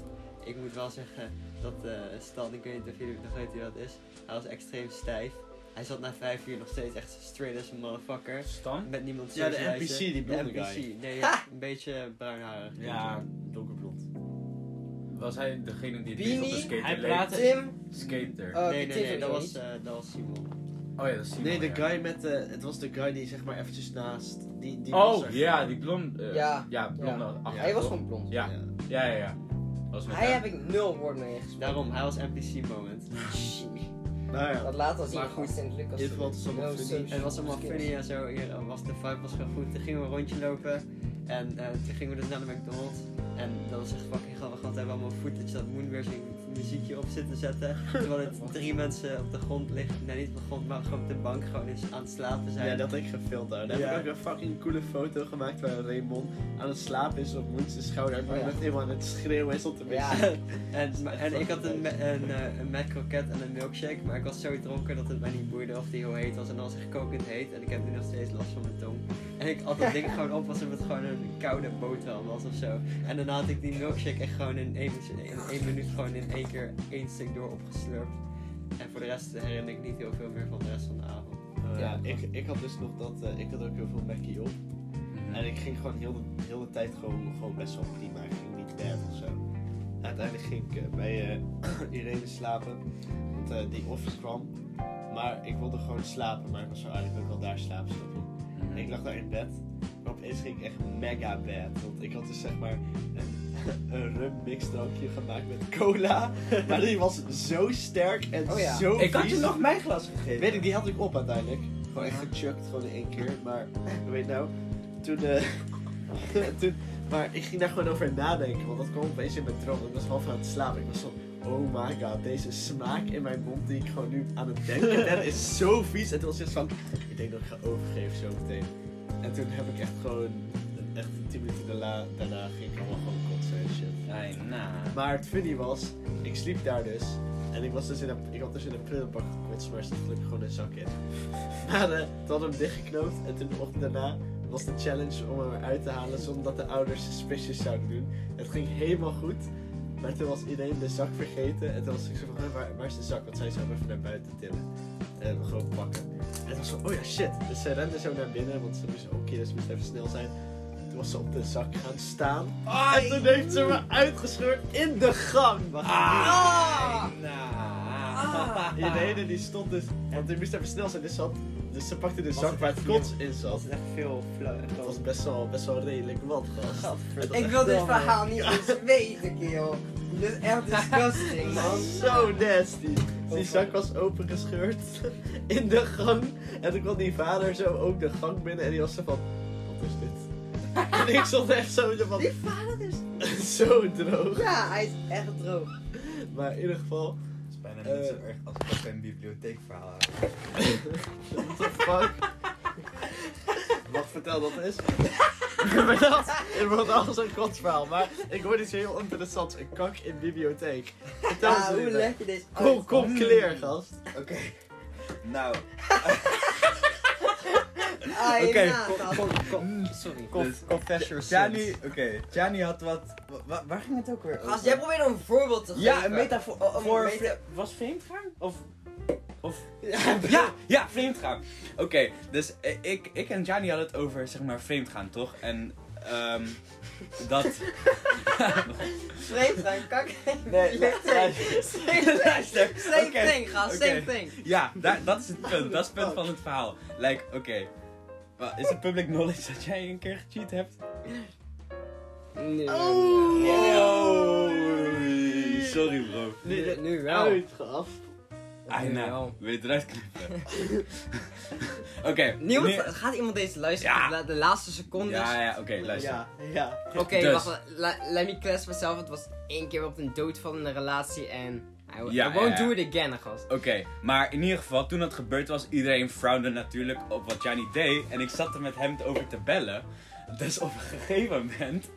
Speaker 4: Ik moet wel zeggen dat eh Stan, ik weet niet of jullie nog weten wie dat is. Hij was extreem stijf. Hij zat na vijf uur nog steeds echt straight as a motherfucker.
Speaker 3: Stan?
Speaker 4: Met niemand
Speaker 1: Ja, de
Speaker 4: socializen.
Speaker 1: NPC, die blonde
Speaker 4: De NPC,
Speaker 1: guy.
Speaker 4: nee, ja, een beetje bruinharig.
Speaker 1: Ja, donkerblond.
Speaker 3: was hij degene die het
Speaker 2: Beanie,
Speaker 3: liefst op de skater
Speaker 4: hij
Speaker 3: leek?
Speaker 4: praatte-
Speaker 2: Tim.
Speaker 3: Skater.
Speaker 2: Oh,
Speaker 4: nee,
Speaker 2: die
Speaker 4: nee, nee,
Speaker 2: TV
Speaker 4: dat was,
Speaker 2: niet.
Speaker 4: eh, dat was Simon.
Speaker 3: oh ja, dat is Simon,
Speaker 1: Nee, de
Speaker 3: ja.
Speaker 1: guy met de... Het was de guy die zeg maar eventjes naast... Die, die was
Speaker 3: Oh,
Speaker 1: er.
Speaker 3: ja, die blond. eh,
Speaker 2: Ja.
Speaker 3: Ja, blonde. achter,
Speaker 2: hij was
Speaker 3: toch?
Speaker 2: gewoon blond.
Speaker 3: Ja, ja, ja. ja. Dat was met
Speaker 2: Hij
Speaker 3: hem.
Speaker 2: heb ik nul woord mee gesproken.
Speaker 4: Daarom, hij was NPC moment.
Speaker 1: Nou ja.
Speaker 2: Dat later was
Speaker 4: Maar
Speaker 2: hij
Speaker 4: goed,
Speaker 2: goed in Lucas.
Speaker 1: dit valt dus allemaal
Speaker 2: No
Speaker 1: funny.
Speaker 2: social
Speaker 4: Het was allemaal
Speaker 2: skills.
Speaker 4: funny en zo. Hier eh, was de vibe was gewoon goed. Toen gingen we een rondje lopen. En eh, toen gingen we dus naar de McDonald's. En dat was echt fucking grappig, want we hebben allemaal footage dat Moonversing muziekje op zitten
Speaker 2: (laughs)
Speaker 4: zetten. Terwijl het drie mensen op de grond liggen. Nee, niet op de grond, maar gewoon op de bank gewoon eens aan het slapen zijn.
Speaker 1: Ja, dat heb ik gefilmd daar. Daar
Speaker 4: Ja.
Speaker 1: heb ik ook een fucking coole foto gemaakt waar Raymond aan het slapen is op Moens' schouder. En
Speaker 2: Oh, ja.
Speaker 1: met helemaal aan het schreeuwen is op de
Speaker 2: Ja.
Speaker 1: wc.
Speaker 4: En, maar- en ik had een,
Speaker 1: Fucking
Speaker 4: me- een, eh, een Mad Croquette en een milkshake, maar ik was zo dronken dat het mij niet boeide of die heel heet was. En dan was echt kokend heet en ik heb nu nog steeds last van mijn tong. En ik had dat (laughs) ding gewoon op alsof het gewoon een koude boterham was of zo. En daarna had ik die milkshake echt gewoon in één, in één minuut gewoon in één keer één stuk door opgeslurpt. En voor de rest herinner ik niet heel veel meer van de rest van de avond.
Speaker 1: Eh,
Speaker 2: Ja.
Speaker 1: ik, ik had dus nog dat... eh, ik had ook heel veel Mackie op.
Speaker 3: Mhm.
Speaker 1: En ik ging gewoon heel de, heel de tijd gewoon, gewoon best wel prima. Ik ging niet bad of zo. Uiteindelijk ging ik eh, bij eh (clears throat) Irene slapen. Want eh, die office kwam. Maar ik wilde gewoon slapen. Maar ik was zo eigenlijk ook wel daar slapen. snap je?
Speaker 5: Mm.
Speaker 1: En ik lag daar in bed. Maar opeens ging ik echt mega bad. Want ik had dus zeg maar een, een (laughs) rum mixdrankje gemaakt met
Speaker 2: (laughs)
Speaker 1: cola. Maar die was zo sterk en
Speaker 2: Oh ja.
Speaker 1: zo
Speaker 3: Ik had je
Speaker 1: vies.
Speaker 3: nog mijn glas gegeven.
Speaker 1: Weet ik, die had ik op uiteindelijk. Gewoon echt gechuckt, gewoon in één keer. Maar, (laughs) weet nou, toen, eh, (laughs) toen... Maar ik ging daar gewoon over nadenken, want dat kwam opeens in mijn droom. Ik was half aan het slapen. Ik was van, oh my god, deze smaak in mijn mond die ik gewoon nu aan het denken ben, is zo vies. En toen was ik van, ik denk dat ik ga overgeven zo meteen. En toen heb ik echt gewoon, echt 10 minuten daarna, daarna ging ik allemaal gewoon kotsen en shit.
Speaker 3: Nee, nou.
Speaker 1: Maar het funny was, ik sliep daar dus. En ik, was dus in een, ik had dus in een prullenbak gekotst, maar er zat gelukkig gewoon een zak in. (laughs) Maar eh, toen hadden we hem dichtgeknoopt en toen de ochtend daarna was de challenge om hem eruit te halen zonder dat de ouders suspicious zouden doen. Het ging helemaal goed, maar toen was iedereen de zak vergeten. En toen was ik zo van, "Hé, waar, waar is de zak? Want zij zou hem even naar buiten tillen en hem gewoon pakken. En toen was ze van, oh ja shit. Dus ze rende zo naar binnen, want ze moest ook hier, ze moest even snel zijn. Toen was ze op de zak gaan staan.
Speaker 3: Ah,
Speaker 1: En toen heeft ze me uitgescheurd in de gang.
Speaker 2: Ah!
Speaker 3: Ah.
Speaker 1: En de ene die stond dus, want die moest even snel zijn, dus ze, had- dus ze pakte de zak waar het kots in
Speaker 4: Dat
Speaker 1: zat.
Speaker 4: was echt veel flauw.
Speaker 1: Dat was best wel, best wel redelijk wat, gast.
Speaker 2: Ik wil dit verhaal niet eens weten, kerel. Dit is echt disgusting,
Speaker 1: Dat
Speaker 2: man.
Speaker 1: was (laughs) zo nasty. Dus die zak was opengescheurd (laughs) in de gang. En toen kwam die vader zo ook de gang binnen en die was zo van, wat is dit?
Speaker 2: (laughs)
Speaker 1: En ik stond echt zo van,
Speaker 2: Die vader is...
Speaker 1: (laughs) zo droog.
Speaker 2: Ja, hij is echt droog.
Speaker 1: Maar in ieder geval,
Speaker 5: Het is bijna
Speaker 1: Eh.
Speaker 5: net zo erg als dat we een bibliotheekverhaal hebben.
Speaker 1: what the fuck? Wat vertel dat (laughs) is? maar dat is wat anders een kotsverhaal. Maar ik hoorde iets heel interessants. Een kak in bibliotheek. Vertel
Speaker 2: Ja,
Speaker 1: ze
Speaker 2: Ah, hoe
Speaker 1: dit
Speaker 2: leg je deze Oh, uit?
Speaker 1: Kom, kom, kleer, gast.
Speaker 5: Oké. Nou,
Speaker 2: Ah, je
Speaker 5: Oké,
Speaker 2: nagaat.
Speaker 4: Sorry.
Speaker 5: Dus-
Speaker 4: Confessor
Speaker 5: Chani, oké, Chani had wat. wa- wa- waar ging het ook weer over?
Speaker 2: Gast, jij probeert een voorbeeld te geven.
Speaker 3: Ja, een metafoor.
Speaker 2: Oh, een
Speaker 3: voor
Speaker 2: meta-
Speaker 3: vre- was vreemdgaan? Of. (laughs) Of.
Speaker 2: Ja.
Speaker 3: Ja, ja, vreemdgaan. Oké, dus eh, ik, ik en Gianni hadden het over, zeg maar, vreemdgaan, toch? En. ehm dat. (laughs)
Speaker 2: Vreemd zijn, kak.
Speaker 3: Nee, luister.
Speaker 2: (laughs)
Speaker 3: Luister.
Speaker 2: Same
Speaker 3: Oké,
Speaker 2: thing, gast. Same
Speaker 3: oké.
Speaker 2: thing.
Speaker 3: Ja, daar, dat is het punt. Dat is het punt van het verhaal. Like, oké. wa- Is het public knowledge dat jij een keer gecheat hebt?
Speaker 2: Nu,
Speaker 3: Oh, sorry bro.
Speaker 2: nu, nu wel.
Speaker 1: Uitgeaf.
Speaker 3: Ah, nou,
Speaker 2: wel.
Speaker 3: wil je het eruit knippen? (laughs) Oké.
Speaker 2: Niemand,
Speaker 3: nu-
Speaker 2: gaat iemand deze luisteren?
Speaker 3: Ja.
Speaker 2: La- De laatste secondes.
Speaker 3: Ja, ja, oké, luister.
Speaker 1: Ja, ja.
Speaker 2: Oké,
Speaker 3: Dus.
Speaker 2: wacht. la- let me clash myself. Het was één keer op een doodvallende relatie en... I, I
Speaker 3: Ja, ja,
Speaker 2: won't
Speaker 3: ja.
Speaker 2: do it again, gast.
Speaker 3: Oké, maar in ieder geval, toen dat gebeurd was, iedereen frownde natuurlijk op wat Gianni deed. En ik zat er met hem over te bellen. Dus op een gegeven moment,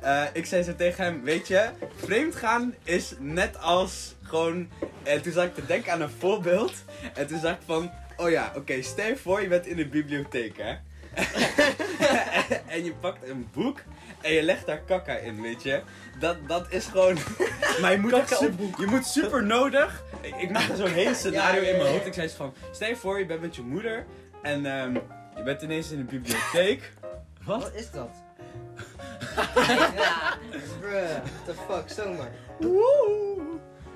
Speaker 3: eh, ik zei zo tegen hem, weet je, vreemdgaan is net als gewoon... En toen zat ik te denken aan een voorbeeld. En toen zag ik van, oh ja, oké, stel je voor, je bent in de bibliotheek, hè. (laughs) en je pakt een boek en je legt daar kakka in, weet je. Dat, dat is gewoon... maar je moet, echt
Speaker 1: Kakka op
Speaker 3: super- je moet super nodig ik, ik maakte
Speaker 2: (laughs)
Speaker 3: zo'n hele scenario
Speaker 2: Ja, ja,
Speaker 3: in mijn
Speaker 2: ja.
Speaker 3: hoofd. Ik zei ze van, stel je voor, je bent met je moeder en ehm, je bent ineens in de bibliotheek. Wat? (laughs)
Speaker 2: Wat is dat? ja, bruh, what the fuck, zomaar.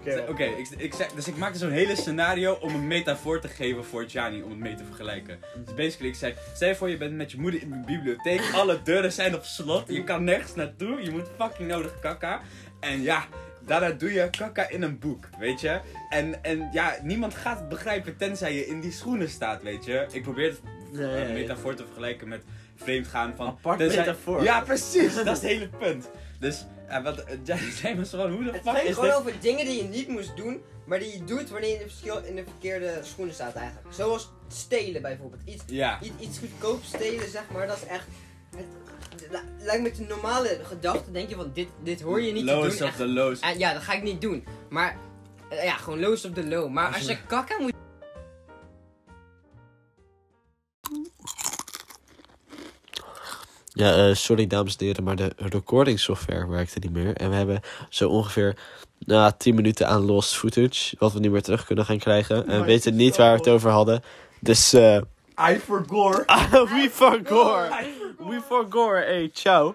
Speaker 5: Oké,
Speaker 3: Oké, ik, ik, zeg- dus ik maakte zo'n hele scenario om een metafoor te geven voor Gianni, om het mee te vergelijken. Dus basically, ik zei, stel je voor je bent met je moeder in de bibliotheek, alle deuren zijn op slot, je kan nergens naartoe, je moet fucking nodig kakka. En ja, daarna doe je kakka in een boek, weet je. En, en ja, niemand gaat het begrijpen tenzij je in die schoenen staat, weet je. Ik probeer het
Speaker 1: Nee,
Speaker 3: een
Speaker 1: nee, nee.
Speaker 3: metafoor te vergelijken met vreemdgaan van...
Speaker 5: Apart metafoor.
Speaker 3: Ja, precies, dat is het hele punt. Dus, eh, wat, eh, Gianni zei me zo van, hoe de
Speaker 2: Het
Speaker 3: fuck
Speaker 2: ging
Speaker 3: is
Speaker 2: gewoon
Speaker 3: dit?
Speaker 2: over dingen die je niet moest doen, maar die je doet wanneer je in de, verschil, in de verkeerde schoenen staat eigenlijk. Zoals stelen bijvoorbeeld. Iets,
Speaker 3: Ja.
Speaker 2: iets, iets goedkoop stelen, zeg maar, dat is echt... Het, li- lijkt me de normale gedachte, denk je van dit, dit hoor je niet te
Speaker 3: Lowest
Speaker 2: doen.
Speaker 3: of
Speaker 2: echt.
Speaker 3: the lowest.
Speaker 2: Eh, ja, dat ga ik niet doen. Maar eh, ja, gewoon lowest of the low. Maar als je kakka moet...
Speaker 1: Ja, eh, sorry dames en heren, maar de recording software werkte niet meer. En we hebben zo ongeveer na 10 minuten aan lost footage, wat we niet meer terug kunnen gaan krijgen. En we
Speaker 5: Maar
Speaker 1: weten
Speaker 5: het Oh, is
Speaker 1: niet
Speaker 5: wel
Speaker 1: waar we het
Speaker 5: mooi.
Speaker 1: over hadden. Dus, eh (laughs)
Speaker 5: I forgot.
Speaker 1: we forgot. We forgot. Hey, ciao.